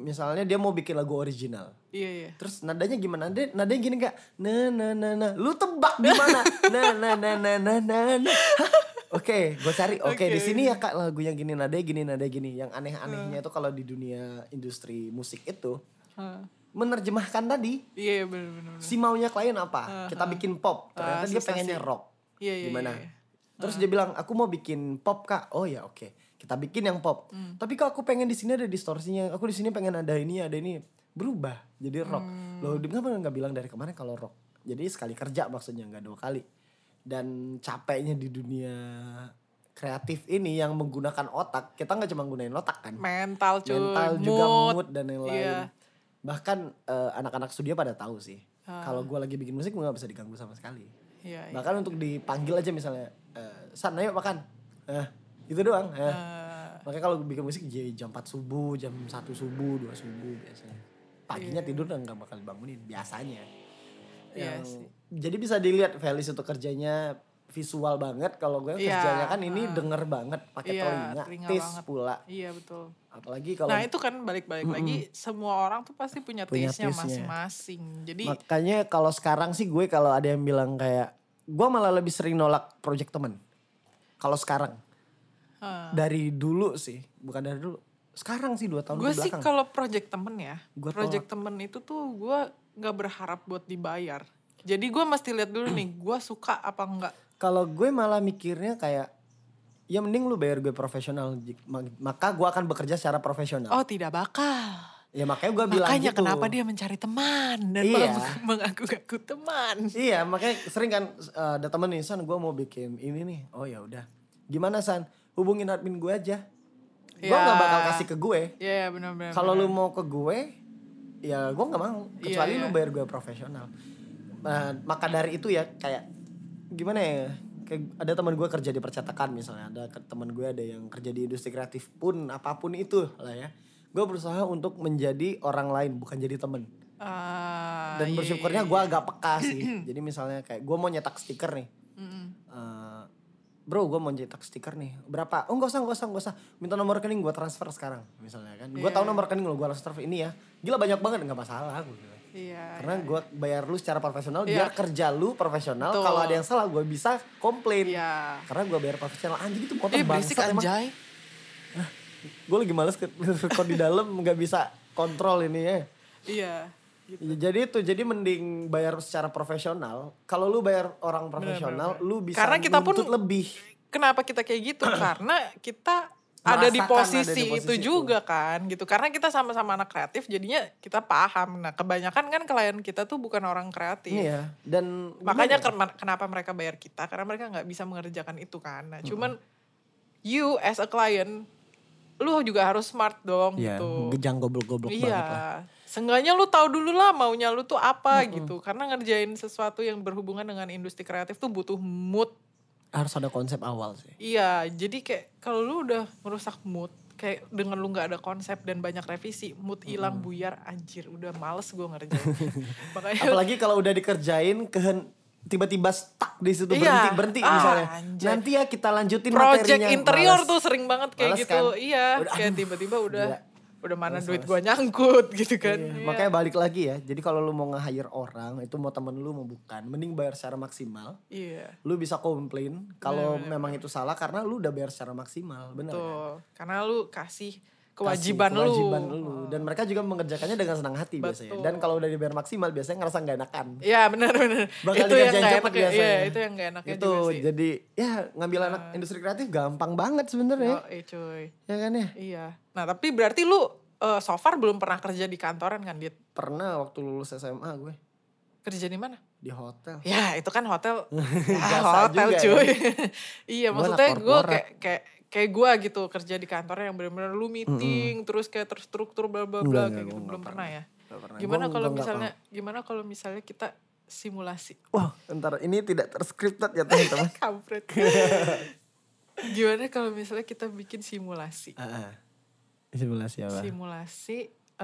misalnya dia mau bikin lagu original.
Iya iya.
Terus nadanya gimana? Nada- Nadanya gini gak? Na na na na. Lu tebak di mana? Na na na na na na. na. Hah? Oke, gue cari. Oke,
Oke.
di sini ya Kak lagu yang gini nadanya gini nadanya gini. Yang aneh-anehnya tuh kalau di dunia industri musik itu
Heeh.
menerjemahkan tadi
Iya iya benar benar. benar.
si maunya klien apa? Kita bikin pop. Ternyata
Ah,
dia
sensasi.
pengennya rock.
Iya iya.
Gimana?
iya, iya.
Terus dia bilang, "Aku mau bikin pop, Kak." Oh ya, oke. Kita bikin yang pop.
Hmm.
Tapi kok aku pengen di sini ada distorsinya. Aku di sini pengen ada ini, ada ini. Berubah jadi rock.
Hmm.
Loh, dia kenapa nggak bilang dari kemarin kalau rock? Jadi sekali kerja maksudnya nggak dua kali. Dan capeknya di dunia kreatif ini yang menggunakan otak, kita nggak cuma gunain otak kan
Mental cuy.
mental juga mood dan yang lain.
Iya.
Bahkan eh, anak-anak studio pada tahu sih.
Ah.
Kalau gue lagi bikin musik gue gak bisa diganggu sama sekali.
Iya iya.
Bahkan untuk dipanggil aja misalnya, eh, San ayo makan. Eh, itu doang. eh.
Eh,
Makanya kalau bikin musik jadi jam 4 subuh, jam 1 subuh, 2 subuh biasanya. Paginya tidur dan gak bakal bangunin biasanya.
Iya
Yang-
sih.
Jadi bisa dilihat Felis itu kerjanya visual banget kalau gue
Iya,
kerjanya kan ini denger banget pakai
Iya,
telinga,
telinga
tis
banget.
pula.
Iya betul.
Apalagi kalau
Nah itu kan balik-balik lagi semua orang tuh pasti punya,
Punya
taste-nya
taste-nya.
masing-masing. Jadi
Makanya kalau sekarang sih gue kalau ada yang bilang kayak gue malah lebih sering nolak project temen. Kalau sekarang
eh,
dari dulu sih, bukan dari dulu. Sekarang sih dua tahun
gue
ke
sih
belakang.
kalau project temen ya,
Gua
project temen itu tuh gue nggak berharap buat dibayar. Jadi gue mesti lihat dulu nih, gue suka apa enggak.
Kalau gue malah mikirnya kayak ya mending lu bayar gue profesional Jik. Ma- maka gue akan bekerja secara profesional.
Oh tidak bakal.
Ya makanya gue bilang
Makanya
gitu.
kenapa dia mencari teman dan
Iya.
meng- mengaku-ngaku teman.
Iya, makanya sering kan eh, ada temen nih, San gue mau bikin ini nih. Oh ya udah. Gimana San? Hubungin admin gue aja. Gue
Ya.
gak bakal kasih ke gue.
Iya benar-benar.
Kalau lu mau ke gue, ya gue nggak mau. Kecuali
Iya,
lu
iya.
bayar gue profesional. Nah, maka dari itu ya kayak gimana ya? Kayak ada teman gue kerja di percetakan misalnya, ada ke- teman gue ada yang kerja di industri kreatif pun apapun itu lah ya. Gue berusaha untuk menjadi orang lain bukan jadi temen.
Ah,
Dan
iya,
bersyukurnya
iya,
gue
iya.
agak peka sih. Jadi misalnya kayak gue mau nyetak stiker nih.
Mm-mm.
Eh, bro gue mau cetak stiker nih berapa oh nggak usah nggak usah nggak usah minta nomor rekening gue transfer sekarang misalnya kan gue
Iya.
tahu nomor rekening lo gue langsung transfer ini ya gila banyak banget nggak masalah gue bilang.
Iya.
karena
iya.
gue bayar lu secara profesional
Iya.
biar kerja lu profesional
Betul.
kalau ada yang salah gue bisa komplain
Iya.
karena gue bayar profesional anjing itu motor
Eh berisik
bangsat emang
anjay.
gue lagi males ke kalau di dalam nggak bisa kontrol ini ya
Iya. Gitu.
Ya, jadi itu jadi mending bayar secara profesional kalau lu bayar orang profesional
bener.
lu bisa
Karena kita pun
nuntut lebih
Kenapa kita kayak gitu? Karena kita
Merasakan
ada
ada
di,
di
posisi
posisi
itu
itu.
juga kan gitu. Karena kita sama-sama anak kreatif jadinya kita paham. Nah kebanyakan kan klien kita tuh bukan orang kreatif.
Iya, dan
Makanya
gimana ya?
ken- kenapa mereka bayar kita? Karena mereka nggak bisa mengerjakan itu kan. Nah, cuman you as a client, lu juga harus smart dong
Iya,
gitu.
gejang goblok-goblok banget lah.
Iya, seenggaknya lu tahu dulu lah maunya lu tuh apa gitu. Karena ngerjain sesuatu yang berhubungan dengan industri kreatif tuh butuh mood.
Harus ada konsep awal sih.
Iya, jadi kayak kalau lu udah merusak mood, kayak dengan lu nggak ada konsep dan banyak revisi, mood hilang buyar, anjir udah males gue ngerjain. Makanya
Apalagi kalau udah dikerjain kehen tiba-tiba stuck di situ
Iya.
berhenti berhenti
Ah,
misalnya.
anjay.
Nanti ya kita lanjutin
project
materinya.
interior
Males.
tuh sering banget kayak
Males
gitu.
kan?
Iya,
Udah,
kayak
aduh,
tiba-tiba udah
gila.
udah mana
Males,
duit
males.
gua nyangkut gitu kan.
Iya,
Iya.
Makanya balik lagi ya. Jadi kalau lu mau nge-hire orang, itu mau temen lu mau bukan, mending bayar secara maksimal.
Iya.
Lu bisa komplain kalau memang itu salah karena lu udah bayar secara maksimal, benar kan?
Tuh, karena lu kasih
Kasih
kewajiban,
kewajiban
lu.
lu. dan mereka juga mengerjakannya dengan senang hati biasanya dan kalau udah dibayar maksimal biasanya ngerasa nggak enakan
Iya, benar benar.
Bakal
itu yang
dikerjain
gak
cepet
enak ya.
biasanya.
Iya, itu yang gak enaknya
itu
juga sih. Iya.
jadi ya ngambil anak industri kreatif gampang banget sebenarnya
Yoi, cuy.
ya kan ya
Iya. Nah, tapi berarti lu eh, so far belum pernah kerja di kantoran kan, Dit?
pernah waktu lulus SMA gue
Kerja di mana?
di hotel
Ya itu kan hotel, ya,
Jasa juga
hotel
ya.
cuy. iya
Gua
maksudnya
anak
gue
korporat.
kayak kayak kayak gue gitu kerja di kantor yang benar-benar lu meeting terus kayak terstruktur bla
Enggak,
bla bla
enggak,
kayak
gua
gitu
nggak
belum pernah ya.
Gak pernah.
Gimana
Gua-
kalau
gua nggak
misalnya gimana kalau misalnya kita simulasi
mau. wah ntar ini tidak terscripted ya teman-teman
kampret. gimana kalau misalnya kita bikin simulasi
Heeh. simulasi apa
simulasi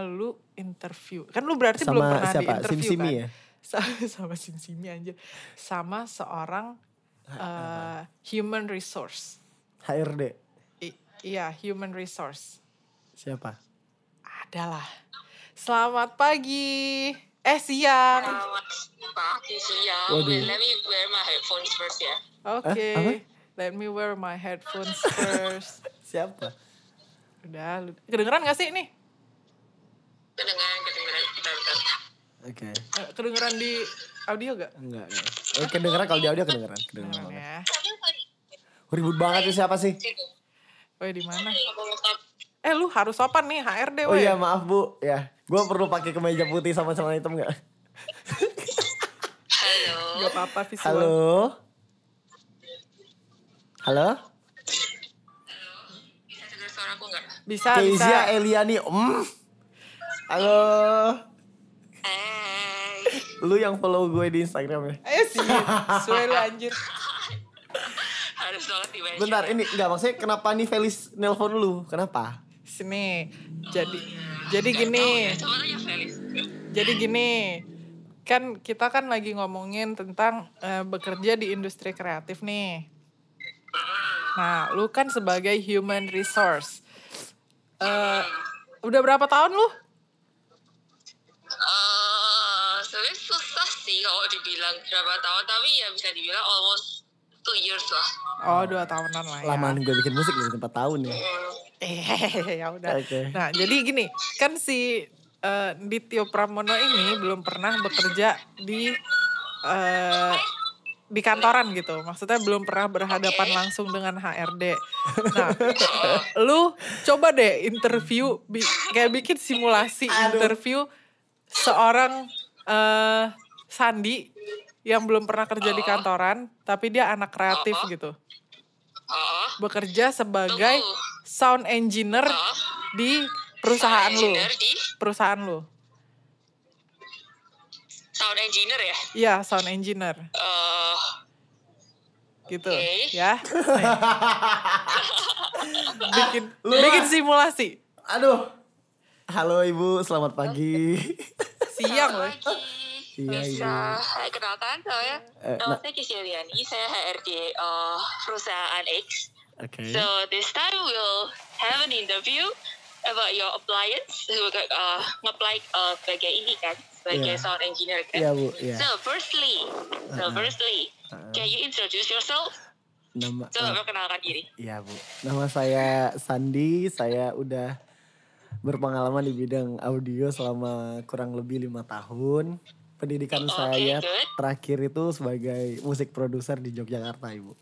lu interview kan lu berarti belum
sama
pernah di
siapa sim
interview
simi
kan?
ya
sama sama Simi aja sama seorang
Ah,
eh, human resource
HRD
I- iya human resource
siapa
adalah selamat pagi eh siang
Waduh.
Wait, let me wear my headphones first, ya. yeah.
oke
Eh, apa?
let me wear my headphones first
siapa
udah lu- kedengeran gak sih nih
Kedengaran, kedengaran, bentar, bentar.
oke
Eh, kedengeran di audio gak
enggak enggak eh, kedengeran kalau di audio kedengeran kedengeran
kedengeran
banget
ya Iya,
ribut banget sih siapa sih
Woi di mana?
Aku mau stop.
Eh lu harus sopan nih HRD
Oh
woi.
iya maaf bu, ya gue perlu pakai kemeja putih sama celana hitam nggak?
Halo.
Gak apa-apa visual.
Halo, halo,
Bisa dengar suara aku nggak?
Bisa
Kezia
bisa.
Eliani, mm. halo,
Hey.
lu yang follow gue di Instagram ya?
Ayo sih, suwe lu anjir.
Harus banget di mention.
Bentar ini nggak maksudnya kenapa nih Felis nelpon lu? Kenapa?
Sini. Jadi jadi gini,
Sama aja, Eh, Felis.
jadi gini. Kan kita kan lagi ngomongin tentang eh, bekerja di industri kreatif nih. Nah, lu kan sebagai human resource. Eh, udah berapa tahun lu?
Eh, sebenarnya susah sih kalau dibilang berapa tahun, tapi ya bisa dibilang almost two years lah.
Oh, dua tahunan lah ya.
Lamaan gue bikin musik dari tempat tahun ya.
Hmm.
Eh, ya udah.
Oke.
Nah, jadi gini, kan si eh, Dityo Pramono ini belum pernah bekerja di eh, di kantoran gitu. Maksudnya belum pernah berhadapan langsung dengan HRD. Nah, lu coba deh interview bi- kayak bikin simulasi
Aduh.
interview seorang eh, Sandi yang belum pernah kerja di kantoran tapi dia anak kreatif gitu.
Oh,
Bekerja sebagai
Tunggu.
sound engineer
oh.
di perusahaan lu
Engineer di
perusahaan lu
sound engineer ya
Iya, sound engineer
Eh,
gitu
Oke.
ya. bikin bikin simulasi
Aduh. Halo Ibu, selamat pagi.
siang loh.
selamat pagi.
Iya,
Bisa, hai kenalkan saya.
Eh,
Nama saya Kiki Eliani, saya HRD eh, perusahaan X.
Oke.
So this time we'll have an interview about your appliance. We'll uh, apply uh, sebagai ini kan, sebagai
Iya.
sound engineer kan.
Iya, Bu, iya.
So firstly, so
Uh-huh.
firstly, can you introduce yourself?
Nama
Coba
eh,
perkenalkan diri.
Iya, Bu. Nama saya Sandi, saya udah berpengalaman di bidang audio selama kurang lebih lima tahun. Pendidikan
Oh, Oke,
saya
good.
terakhir itu sebagai musik produser di Yogyakarta, Ibu.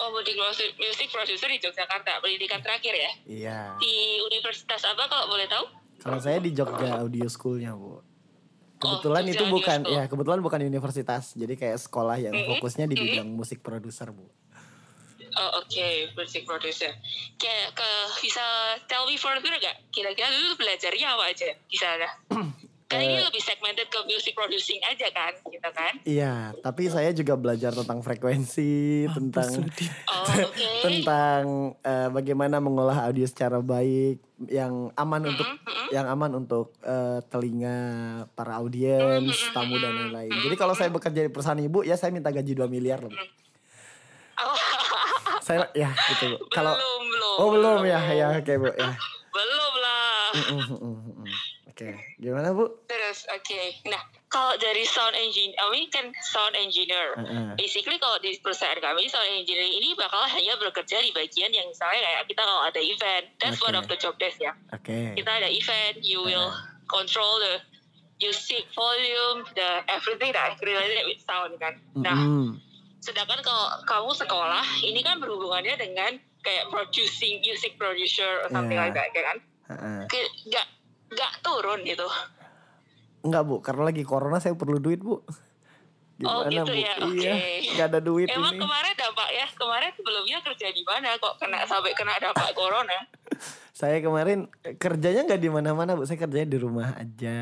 Oh, di music, music producer di Yogyakarta, pendidikan terakhir ya.
Iya.
Di universitas apa kalau boleh tahu?
Kalau saya di Jogja Audio School-nya, Bu. Kebetulan
Oh, Jogja
itu
Audio
bukan
School.
ya, kebetulan bukan universitas. Jadi kayak sekolah yang fokusnya di bidang musik produser, Bu.
Oh, oke, music producer. Kayak ke bisa tell me further gak? Kira-kira dulu belajarnya apa aja di sana? kan ini lebih segmented ke music producing aja kan, gitu kan?
Iya, tapi saya juga belajar tentang frekuensi, tentang
Oh, oke.
tentang eh, bagaimana mengolah audio secara baik yang aman untuk yang aman untuk eh, telinga para audiens, tamu dan lain-lain. Jadi kalau saya bekerja di perusahaan Ibu, ya saya minta gaji 2 miliar loh. Bu.
Oh,
Saya ya gitu, Bu. Kalau
belum, belum.
Oh, belum ya. Ya, oke, Bu, ya.
Belum lah.
Mm, mm, mm, mm, mm. Oke, gimana Bu?
Terus, oke. Nah, kalau dari sound engine, I mean kan sound engineer.
Heeh.
Basically kalau di perusahaan kami, sound engineer ini bakal hanya bekerja di bagian yang misalnya kayak kita kalau ada event. That's one
Oke.
of the job desk ya.
Oke.
kita ada event, you
Hmm.
will control the music volume, the everything that related with sound kan.
Hmm.
Nah,
Mm-mm.
sedangkan kalau kamu sekolah, ini kan berhubungannya dengan kayak producing music producer or something
Iya.
like that kan.
Heeh.
Ke- Nggak nggak turun gitu.
Enggak Bu, karena lagi corona saya perlu duit Bu.
Oh,
Gimana
gitu
Bu?
ya,
Iya,
oke.
nggak ada duit
Emang
ini.
kemarin dampak ya, kemarin sebelumnya kerja di mana kok kena sampai kena dampak corona?
Saya kemarin eh, kerjanya nggak di mana-mana Bu, saya kerjanya di rumah aja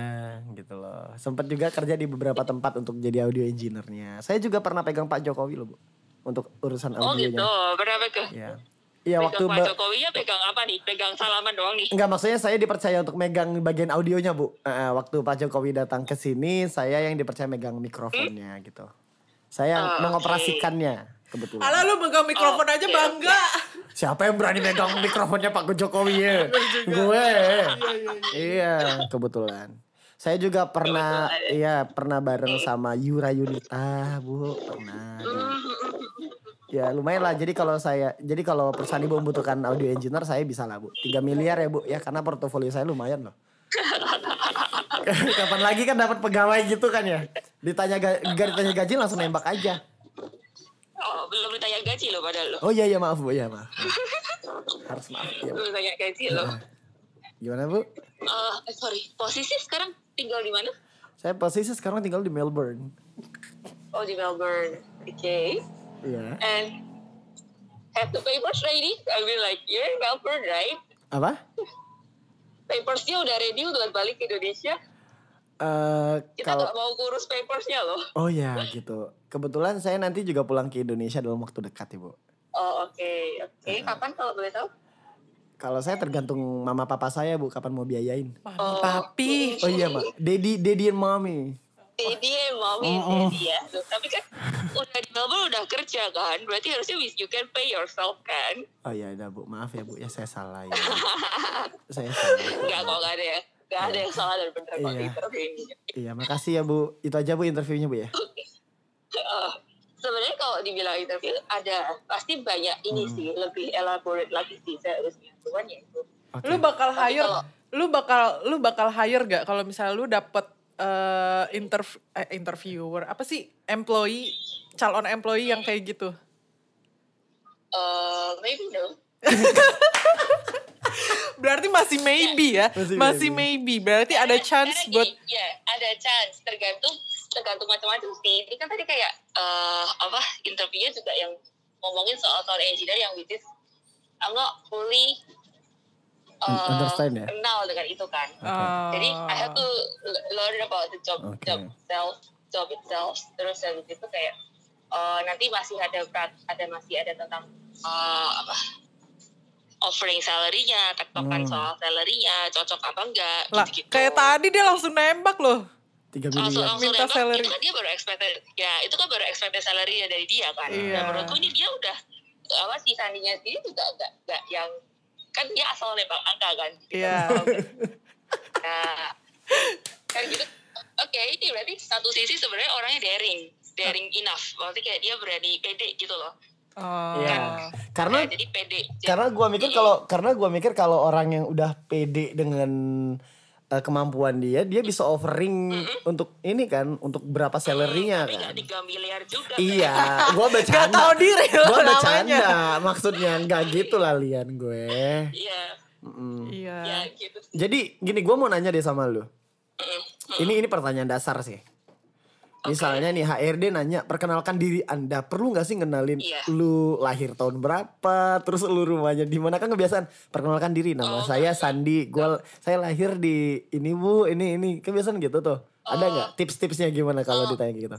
gitu loh. Sempat juga kerja di beberapa tempat untuk jadi audio engineer-nya. Saya juga pernah pegang Pak Jokowi loh Bu, untuk urusan
Oh gitu,
audionya.
berapa ke?
Iya. Iya waktu
Pegang Pak
Mbak-
Jokowi ya pegang apa nih? Pegang salaman doang nih.
Enggak maksudnya saya dipercaya untuk megang bagian audionya bu. Eh, waktu Pak Jokowi datang ke sini, saya yang dipercaya megang
Hmm?
mikrofonnya gitu. Saya
Oh,
mengoperasikannya kebetulan.
Ala lu megang mikrofon aja
Oke,
bangga.
Siapa yang berani megang mikrofonnya Pak Jokowi ya? Gue. Iya kebetulan. Saya juga pernah, iya pernah bareng sama Yura Yunita bu, pernah. gitu. Ya lumayan lah. Jadi kalau saya, jadi kalau perusahaan ibu membutuhkan audio engineer, saya bisa lah bu. 3 miliar ya bu, ya karena portofolio saya lumayan loh. Kapan lagi kan dapat pegawai gitu kan ya? Ditanya ga, gak ditanya gaji langsung nembak aja.
Oh, belum ditanya gaji loh padahal lo.
Oh iya iya maaf bu, iya maaf. Harus maaf ya bu.
Belum ditanya gaji loh.
Gimana bu?
Eh, sorry, posisi sekarang tinggal di mana?
Saya posisi sekarang tinggal di Melbourne.
Oh, di Melbourne. Okay.
Iya.
And have the papers ready? I mean like, you're in Melbourne, right?
Apa?
Papersnya udah ready buat balik ke Indonesia.
Eh
Iya,
Kita
kalau
nggak mau kurus papersnya loh.
Oh ya gitu. Kebetulan saya nanti juga pulang ke Indonesia dalam waktu dekat ibu.
Oh, oke. Oke, kapan kalau boleh tahu?
Kalau saya tergantung mama papa saya bu kapan mau biayain.
Oh.
Papi,
Oh iya mak. Dedi, Dedi and mommy.
Daddy and
Oh,
mommy and daddy ya. Loh, Tapi kan udah di Melbourne udah kerja kan. Berarti harusnya you can pay yourself kan.
Oh iya udah bu maaf ya bu ya saya salah ya. saya salah.
Enggak kok nggak ada ya. Nggak ada yang salah dan benar kok gitu.
Iya.
interview ini.
Iya makasih ya bu. Itu aja bu interviewnya bu ya.
Eh, sebenarnya kalau dibilang interview ada pasti banyak ini
Hmm.
sih lebih elaborate lagi sih saya harus cuman ya itu
lu bakal
Tapi
hire,
kalau-
lu bakal lu bakal hire gak kalau misalnya lu dapet eh, interv- eh, interviewer apa sih employee calon employee yang kayak gitu?
Eh, maybe no
Berarti masih maybe ya,
Masih
masih,
maybe.
maybe. Berarti ada chance
Karena
buat
gini, ya ada chance tergantung tergantung macam-macam sih ini kan tadi kayak eh apa interviewnya juga yang ngomongin soal soal engineer yang which is I'm not fully eh,
Understand ya?
kenal dengan itu kan.
Ah.
Jadi I have to le- learn about the job
Oke.
job itself, job itself. Terus habis itu kayak eh, nanti masih ada pra- ada masih ada tentang eh, apa offering salary-nya, tektokan
Hmm.
soal salary-nya, cocok apa enggak
Lah,
gitu-gitu. Eh,
kayak tadi dia langsung nembak loh.
Tiga
langsung
miliar.
langsung
Minta
nembak,
salary.
itu kan dia baru expected ya itu kan baru expected salary dari dia kan
Iya.
nah, menurutku ini dia udah apa sih sandinya sendiri juga enggak enggak yang kan dia asal nembak angka kan gitu.
Iya.
nah kan gitu oke ini berarti satu sisi sebenarnya orangnya daring daring enough maksudnya kayak dia berani pede gitu loh
Oh.
Iya. Karena
Ya, jadi pede Jadi-
karena gua mikir
Iya.
kalau karena gua mikir kalau orang yang udah pede dengan eh, kemampuan dia, dia bisa offering untuk ini kan, untuk berapa salary-nya
Mm, tapi
kan.
nggak tiga miliar juga kan.
Iya, gua
Gak
bercanda.
tahu diri
Gua
loh namanya.
bercanda, maksudnya nggak gitu lah Lian gue.
iya
Mm-mm.
Iya.
ya gitu
Jadi gini gue mau nanya deh sama lu. Ini ini pertanyaan dasar sih. Misalnya nih HRD nanya perkenalkan diri Anda perlu nggak sih ngenalin
Iya.
lu lahir tahun berapa terus lu rumahnya di mana kan kebiasaan perkenalkan diri nama
Oh,
saya Sandi gua saya lahir di ini Bu ini ini kebiasaan gitu tuh ada
Oh.
nggak tips-tipsnya gimana kalau ditanya gitu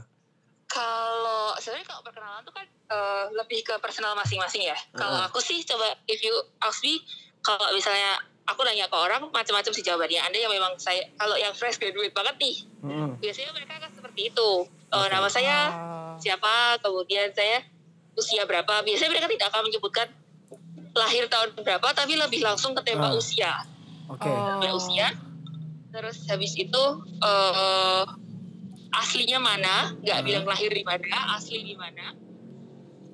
Kalau sebenarnya kalau perkenalan tuh kan eh, lebih ke personal masing-masing ya. Kalau
Heeh.
aku sih coba if you ask me kalau misalnya aku nanya ke orang macam-macam sih jawabannya. Anda yang memang saya kalau yang fresh graduate banget nih
Mm-mm.
biasanya mereka akan seperti itu. Oh,
Oke.
Nama saya
Ah.
siapa, kemudian saya usia berapa. Biasanya mereka tidak akan menyebutkan lahir tahun berapa, tapi lebih langsung ke
Ah.
tema usia
Oke
punya usia. Terus habis itu eh aslinya mana?
Hmm.
Nggak bilang lahir di mana, asli di mana.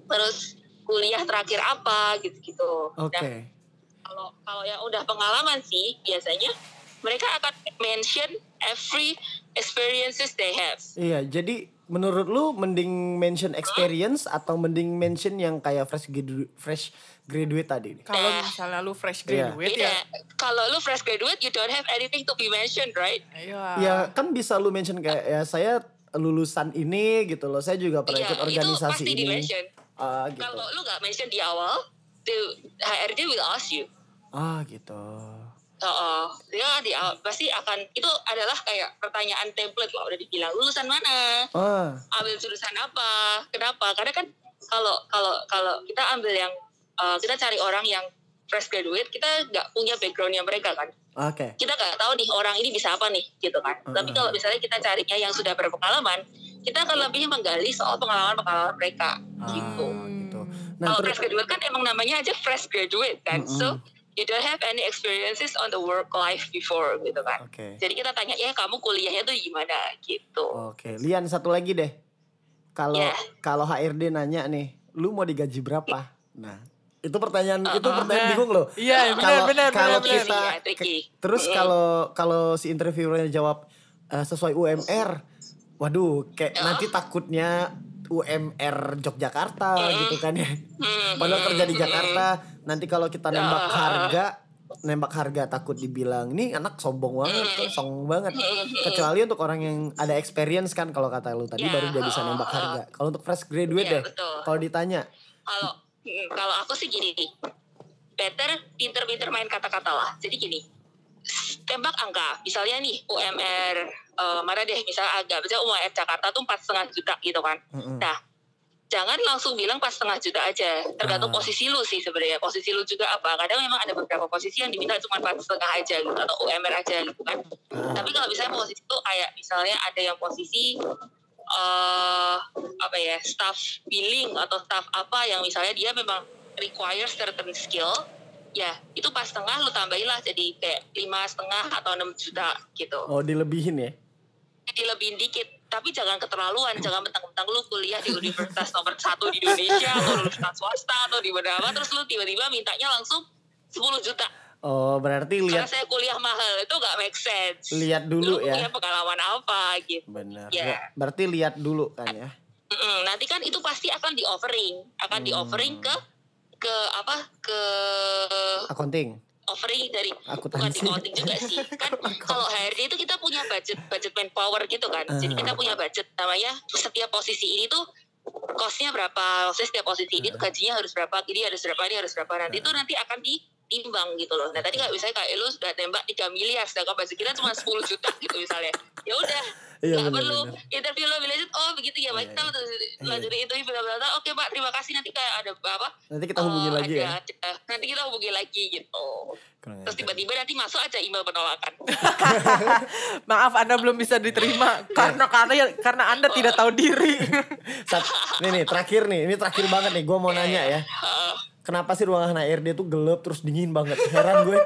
Terus kuliah terakhir apa gitu-gitu.
oke
Nah, kalau kalau yang udah pengalaman sih biasanya mereka akan mention every experiences they have.
iya jadi menurut lu mending mention experience atau mending mention yang kayak fresh gradu- fresh graduate tadi nih?
Kalau misalnya lu fresh
Iya.
graduate ya.
Beda. Kalau lu fresh graduate, you don't have anything to be mentioned, right?
ya. Iya.
Ah.
Ya kan bisa lu mention kayak ya saya lulusan ini gitu loh. Saya juga pernah
Iya,
ikut
itu
organisasi
pasti
ini.
di-mention.
Ah gitu.
Kalau lu nggak mention di awal, the HRD will ask you.
Ah gitu.
Oh, ya di awal pasti akan itu adalah kayak pertanyaan template lah udah dibilang lulusan mana,
Ah,
ambil jurusan apa, kenapa? Karena kan kalau kalau kalau kita ambil yang eh, kita cari orang yang fresh graduate, kita nggak punya backgroundnya mereka kan,
oke.
kita nggak tahu nih orang ini bisa apa nih gitu kan.
Hmm.
Tapi kalau misalnya kita carinya yang sudah berpengalaman, kita akan lebih menggali soal pengalaman-pengalaman mereka
Ah,
gitu.
gitu. Nah,
Kalau
terus Hmm,
fresh graduate kan emang namanya aja fresh graduate kan. So you don't have any experiences on the work life before gitu kan.
Oke. Oh.
Jadi kita tanya ya kamu kuliahnya tuh gimana gitu.
Oke, Lian satu lagi deh. Kalau
Iya.
kalau HRD nanya nih, lu mau digaji berapa?
Iya.
Nah, itu pertanyaan itu
Ah,
pertanyaan
nah.
bingung loh.
Iya, benar,
Kalau-
benar,
kalau
benar,
kita
Iya, tricky.
ke- terus
Mm-mm.
kalau kalau si interviewernya jawab eh, sesuai UMR, waduh, kayak
Oh.
nanti takutnya UMR Yogyakarta gitu kan ya.
Hmm.
Padahal kerja di Jakarta, nanti kalau kita nembak
Oh.
harga, nembak harga takut dibilang ini anak sombong banget, kan, sombong banget. Kecuali untuk orang yang ada experience kan kalau kata lu tadi
Ya,
baru dia bisa nembak harga. Kalau untuk fresh graduate
Iya,
deh,
betul.
kalau ditanya,
Kalau mm, kalau aku sih gini, better pinter-pinter main kata-kata lah. Jadi gini, tembak angka. Misalnya nih UMR eh, mana deh, misalnya agak, misalnya UMR Jakarta tuh empat setengah juta gitu kan.
Mm-mm.
Nah, jangan langsung bilang pas setengah juta aja. Tergantung
Ah.
posisi lu sih sebenarnya. Posisi lu juga apa? Kadang memang ada beberapa posisi yang diminta cuma pas setengah aja gitu atau UMR aja gitu kan. Tapi kalau misalnya posisi itu kayak misalnya ada yang posisi eh apa ya staff billing atau staff apa yang misalnya dia memang require certain skill ya itu pas setengah lu tambahilah jadi kayak lima setengah atau enam juta gitu
oh dilebihin ya.
jadi lebih dikit tapi jangan keterlaluan jangan mentang-mentang lu kuliah di universitas nomor satu di Indonesia atau universitas swasta atau di mana apa terus lu tiba-tiba mintanya langsung 10 juta
Oh, berarti
karena
lihat
saya kuliah mahal itu nggak make sense
lihat dulu
lu
ya.
punya pengalaman apa gitu
Benar.
Ya.
Berarti lihat dulu kan ya.
Mm-mm, nanti kan itu pasti akan di offering akan
Hmm.
di offering ke ke apa ke
Accounting.
offering Oh, dari bukan
Akuntansi.
di accounting juga sih kan kalau HRD itu kita punya budget budget manpower gitu kan jadi kita
Ah.
punya budget namanya setiap posisi ini tuh
Ah.
costnya berapa maksudnya setiap posisi ini tuh gajinya harus berapa ini harus berapa ini harus berapa nanti Nah, itu nanti akan di imbang gitu loh.
Ah.
Nah tadi kalau misalnya kayak lu sudah nembak 3 miliar, sedangkan budget kita cuma 10 juta gitu misalnya. Ya udah,
Iya,
nggak
benar,
perlu
benar.
interview lo bilang oh begitu ya, baik
Iya,
kita
iya.
lanjutin itu bla bla bla. Oke pak, terima kasih nanti kayak ada apa?
Nanti kita hubungi
eh,
lagi ya. Nah,
ada- eh, nanti kita hubungi lagi gitu.
Kurang
Terus
ajar.
tiba-tiba nanti masuk aja email penolakan.
Maaf Anda belum bisa
Iya.
diterima karena karena karena Anda tidak tahu diri.
Sat- nih nih terakhir nih, ini terakhir banget nih. Gue mau
Iya,
nanya ya,
Eh,
kenapa sih ruangan HRD tuh gelap terus dingin banget? Heran gue.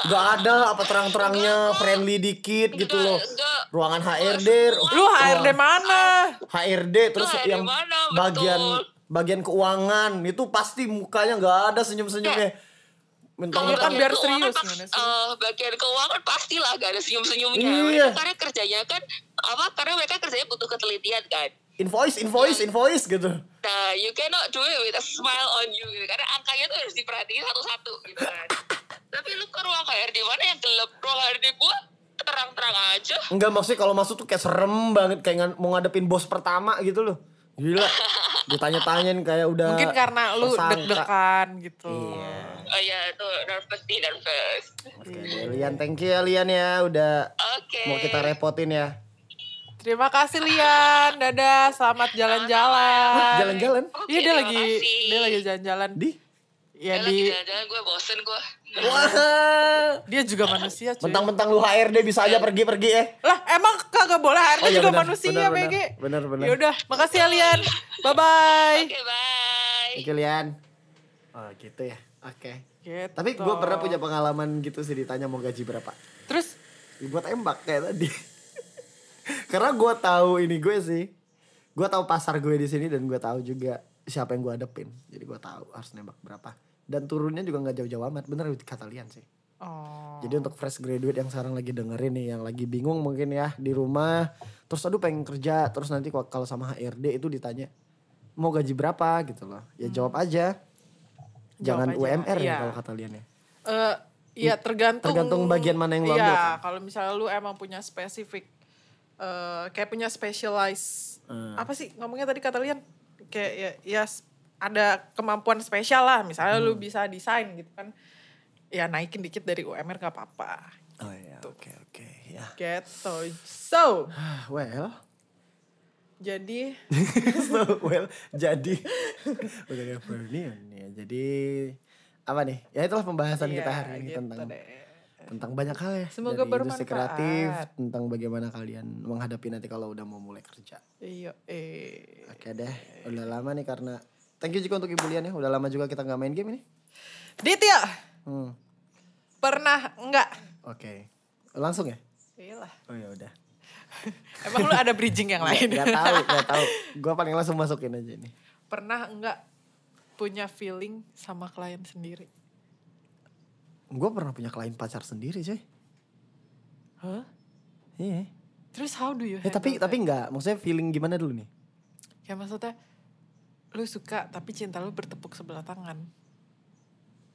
Gak ada apa terang-terangnya, friendly dikit gitu
Enggak,
loh.
enggak.
Ruangan HRD,
Lu HRD mana?
Eh, HRD terus
HRD
yang
mana, betul.
bagian bagian keuangan itu pasti mukanya nggak ada senyum-senyumnya. Minta
Kalau kan
bagian
biar
keuangan
serius,
pas-
gimana sih?
eh, bagian keuangan pastilah gak ada senyum-senyumnya.
Iya.
Mereka Karena kerjanya kan apa? Karena mereka kerjanya butuh ketelitian kan.
invoice, invoice, invoice gitu.
Nah, you cannot do it with a smile on you gitu. Karena angkanya tuh harus diperhatiin satu-satu gitu kan. Tapi lu ke ruang HRD mana yang gelap? Ruang HRD gua terang-terang aja.
Enggak maksudnya kalau masuk tuh kayak serem banget kayak ngan- mau ngadepin bos pertama gitu loh. Gila. Ditanya-tanyain kayak udah
Mungkin karena lu
tersangka.
deg-degan gitu.
Iya.
Oh iya, tuh nervous sih, nervous.
Oke, deh, Lian, thank you ya Lian ya udah
Oke.
mau kita repotin ya.
Terima kasih Lian. Dadah, selamat jalan-jalan.
Jalan-jalan
Iya
Oke,
dia
terima
lagi
kasih.
dia lagi jalan-jalan.
di
Ya
Jalan,
di
jalan-jalan gue bosen gue.
Wah.
dia juga manusia cuy.
Mentang-mentang lu HRD bisa
Iya.
aja pergi-pergi ya.
Lah emang kagak boleh HRD
Oh, iya,
juga
benar,
manusia
benar, benar,
BG.
benar, benar.
Yaudah, makasih ya Lian. Bye bye.
Oke, bye.
Thank you Lian. Oh, gitu ya. Oke.
Gitu.
Tapi gue pernah punya pengalaman gitu sih ditanya mau gaji berapa.
Terus
Gue tembak kayak tadi. Karena gue tahu ini gue sih. Gue tahu pasar gue di sini dan gue tahu juga siapa yang gue adepin. Jadi gue tahu harus nembak berapa. Dan turunnya juga nggak jauh-jauh amat. Bener kata Lian sih.
Oh.
Jadi untuk fresh graduate yang sekarang lagi dengerin nih, yang lagi bingung mungkin ya di rumah, terus aduh pengen kerja, terus nanti kalau- kalau sama HRD itu ditanya mau gaji berapa gitu loh. Ya jawab aja. Jangan
Hmm. aja,
UMR ya
iya.
kalau kata Lian ya.
eh iya tergantung
Tergantung bagian mana yang lu ambil, kan?
Iya, kalau misalnya lu emang punya spesifik eh kayak punya specialized
Hmm.
apa sih ngomongnya tadi kata Lian kayak ya, ya s- ada kemampuan spesial lah misalnya lu
Hmm.
bisa desain gitu kan ya naikin dikit dari UMR gak apa-apa
Oh iya, oke oke ya. Ah,
gitu so
Well,
jadi
so well jadi udah kayak reunion ya. Jadi apa nih? Ya itulah pembahasan kita
iya,
hari ini
gitu
tentang
deh.
tentang banyak hal ya.
Semoga
dari industri
bermanfaat.
kreatif, tentang bagaimana kalian menghadapi nanti kalau udah mau mulai kerja.
iya eh
Oke deh, udah lama nih karena thank you juga untuk Ibu Lian ya. Udah lama juga kita nggak main game ini.
Ditya
Hmm,
pernah enggak
oke. Langsung ya?
Iyalah.
Oh ya udah.
Emang lu ada bridging yang lain?
Gak tahu, gak tahu. Gua paling langsung masukin aja nih.
pernah enggak punya feeling sama klien sendiri?
Gua pernah punya klien pacar sendiri sih.
Hah?
Iya.
Terus how do you
Eh tapi
handle that?
tapi nggak, maksudnya feeling gimana dulu nih?
Ya maksudnya lu suka tapi cinta lu bertepuk sebelah tangan.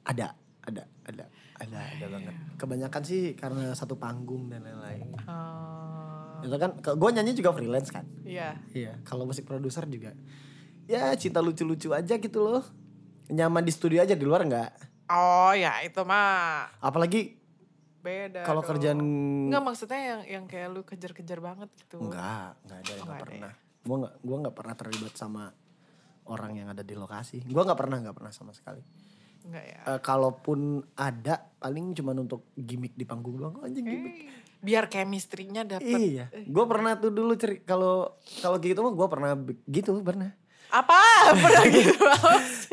Ada, ada, ada, ada, ada banget. Kebanyakan sih karena satu panggung dan lain-lain.
Oh,
Itu kan, gue nyanyi juga freelance kan.
Iya.
Iya. Kalau musik produser juga, ya cinta lucu-lucu aja gitu loh. Nyaman di studio aja di luar nggak?
Oh ya itu mah
Apalagi
beda.
kalau
dong.
kerjaan
Enggak maksudnya yang yang kayak lu kejar-kejar banget gitu.
enggak, enggak ada,
Oh,
enggak
nggak ada
pernah. Gua enggak gua enggak pernah terlibat sama orang yang ada di lokasi. Gua enggak pernah, enggak pernah sama sekali.
Enggak ya.
Eh, kalaupun ada paling cuman untuk gimmick di panggung doang. Oh, Anjing gimmick.
Biar chemistry-nya dapet.
Iya, gue pernah tuh dulu ceri kalau kalau gitu mah gue pernah be- gitu pernah.
Apa? Pernah gitu.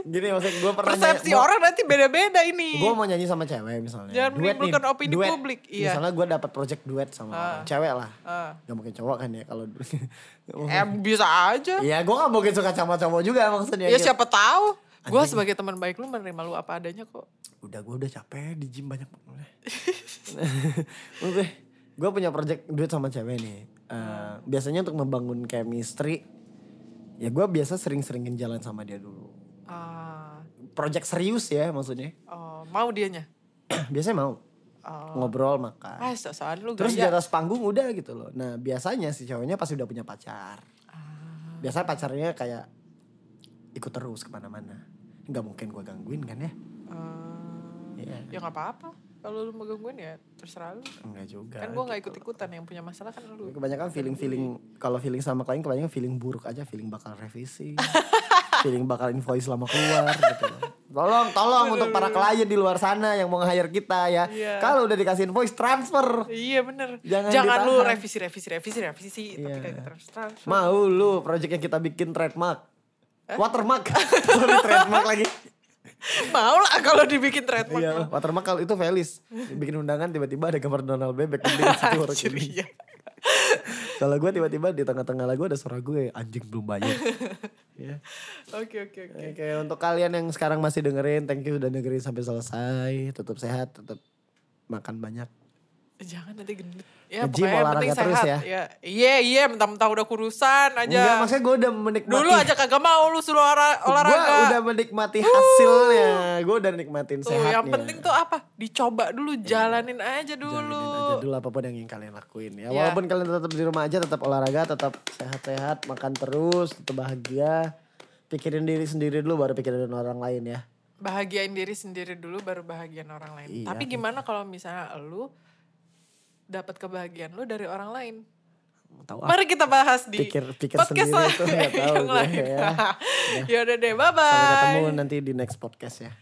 Gini maksudnya gue pernah nyanyi-
Persepsi
gua-
orang nanti beda-beda ini.
gue mau nyanyi sama cewek misalnya
Jangan
duet nih,
menimbulkan opini
duet.
publik, iya.
misalnya gue dapat project duet sama orang cewek lah
Ah.
gak mungkin cowok kan ya kalau
Eh, bisa aja.
Iya gue gak mungkin suka sama cowok juga maksudnya
Ya
gitu.
siapa tahu. Gue sebagai teman baik lu menerima lu apa adanya kok.
udah gue udah capek di gym banyak banget gue punya project duet sama cewek nih Eh, biasanya untuk membangun chemistry ya gue biasa sering-seringin jalan sama dia dulu
Ah,
project serius ya maksudnya
oh, mau dianya.
biasanya mau
Oh.
ngobrol makan
Ah, so soal lu
Terus di
gaya.
atas panggung udah gitu loh. Nah biasanya si cowoknya pasti udah punya pacar.
Ah.
Biasanya pacarnya kayak ikut terus kemana-mana. Nggak mungkin gue gangguin kan ya.
Ah,
Ya
ya nggak apa-apa kalau lu mau gangguin ya terserah lu
Enggak juga.
kan gue nggak ikut ikutan yang punya masalah kan lu
Kebanyakan feeling-feeling kalau feeling sama klien kebanyakan feeling buruk aja, feeling bakal revisi. feeling bakal invoice lama keluar gitu loh. Tolong, tolong untuk para klien di luar sana yang mau nge-hire kita ya.
Iya.
Kalau udah dikasih invoice transfer.
iya bener
Jangan
jangan, lu
ditahan.
revisi revisi revisi revisi tapi
Iya.
kayak terus terus
Mau lu project yang kita bikin trademark. Eh? Watermark. Sorry trademark lagi.
mau lah kalau dibikin trademark
Iya, watermark kalau itu Felis. Bikin undangan tiba-tiba ada gambar Donald Bebek di situ orang
Anjir,
ini.
iya.
Kalau gue tiba-tiba di tengah-tengah lagu ada suara gue anjing belum bayar. Iya.
oke oke oke
Oke, untuk kalian yang sekarang masih dengerin, thank you udah dengerin sampai selesai. Tetap sehat, tetap makan banyak.
jangan nanti gendut ya
Nge-gym,
pokoknya yang
olahraga
penting
terus ya.
sehat ya iya iya mentah-mentah udah kurusan aja
Enggak, maksudnya gue udah menikmati.
dulu aja kagak mau lu suruh olah- olahraga
Gue udah menikmati hasilnya. Gue udah nikmatin
Tuh,
sehatnya. Iya.
yang penting tuh apa? Dicoba dulu, jalanin aja dulu.
Jalanin aja dulu Nah, apapun yang ingin kalian lakuin ya.
Ya.
Walaupun kalian tetap di rumah aja, tetap olahraga, tetap sehat-sehat, makan terus, tetap bahagia. Pikirin diri sendiri dulu baru pikirin orang lain ya.
Bahagiain diri sendiri dulu baru bahagiain orang lain.
Iya,
Tapi gimana kalau misalnya lu dapat kebahagiaan lu dari orang lain?
Tahu apa?
Mari kita bahas di
Pikir- pikir
podcast
sendiri tuh nggak tahu
yang
gue
lain.
ya.
Ya udah deh, bye
Sampai ketemu
bye.
nanti di next podcast ya.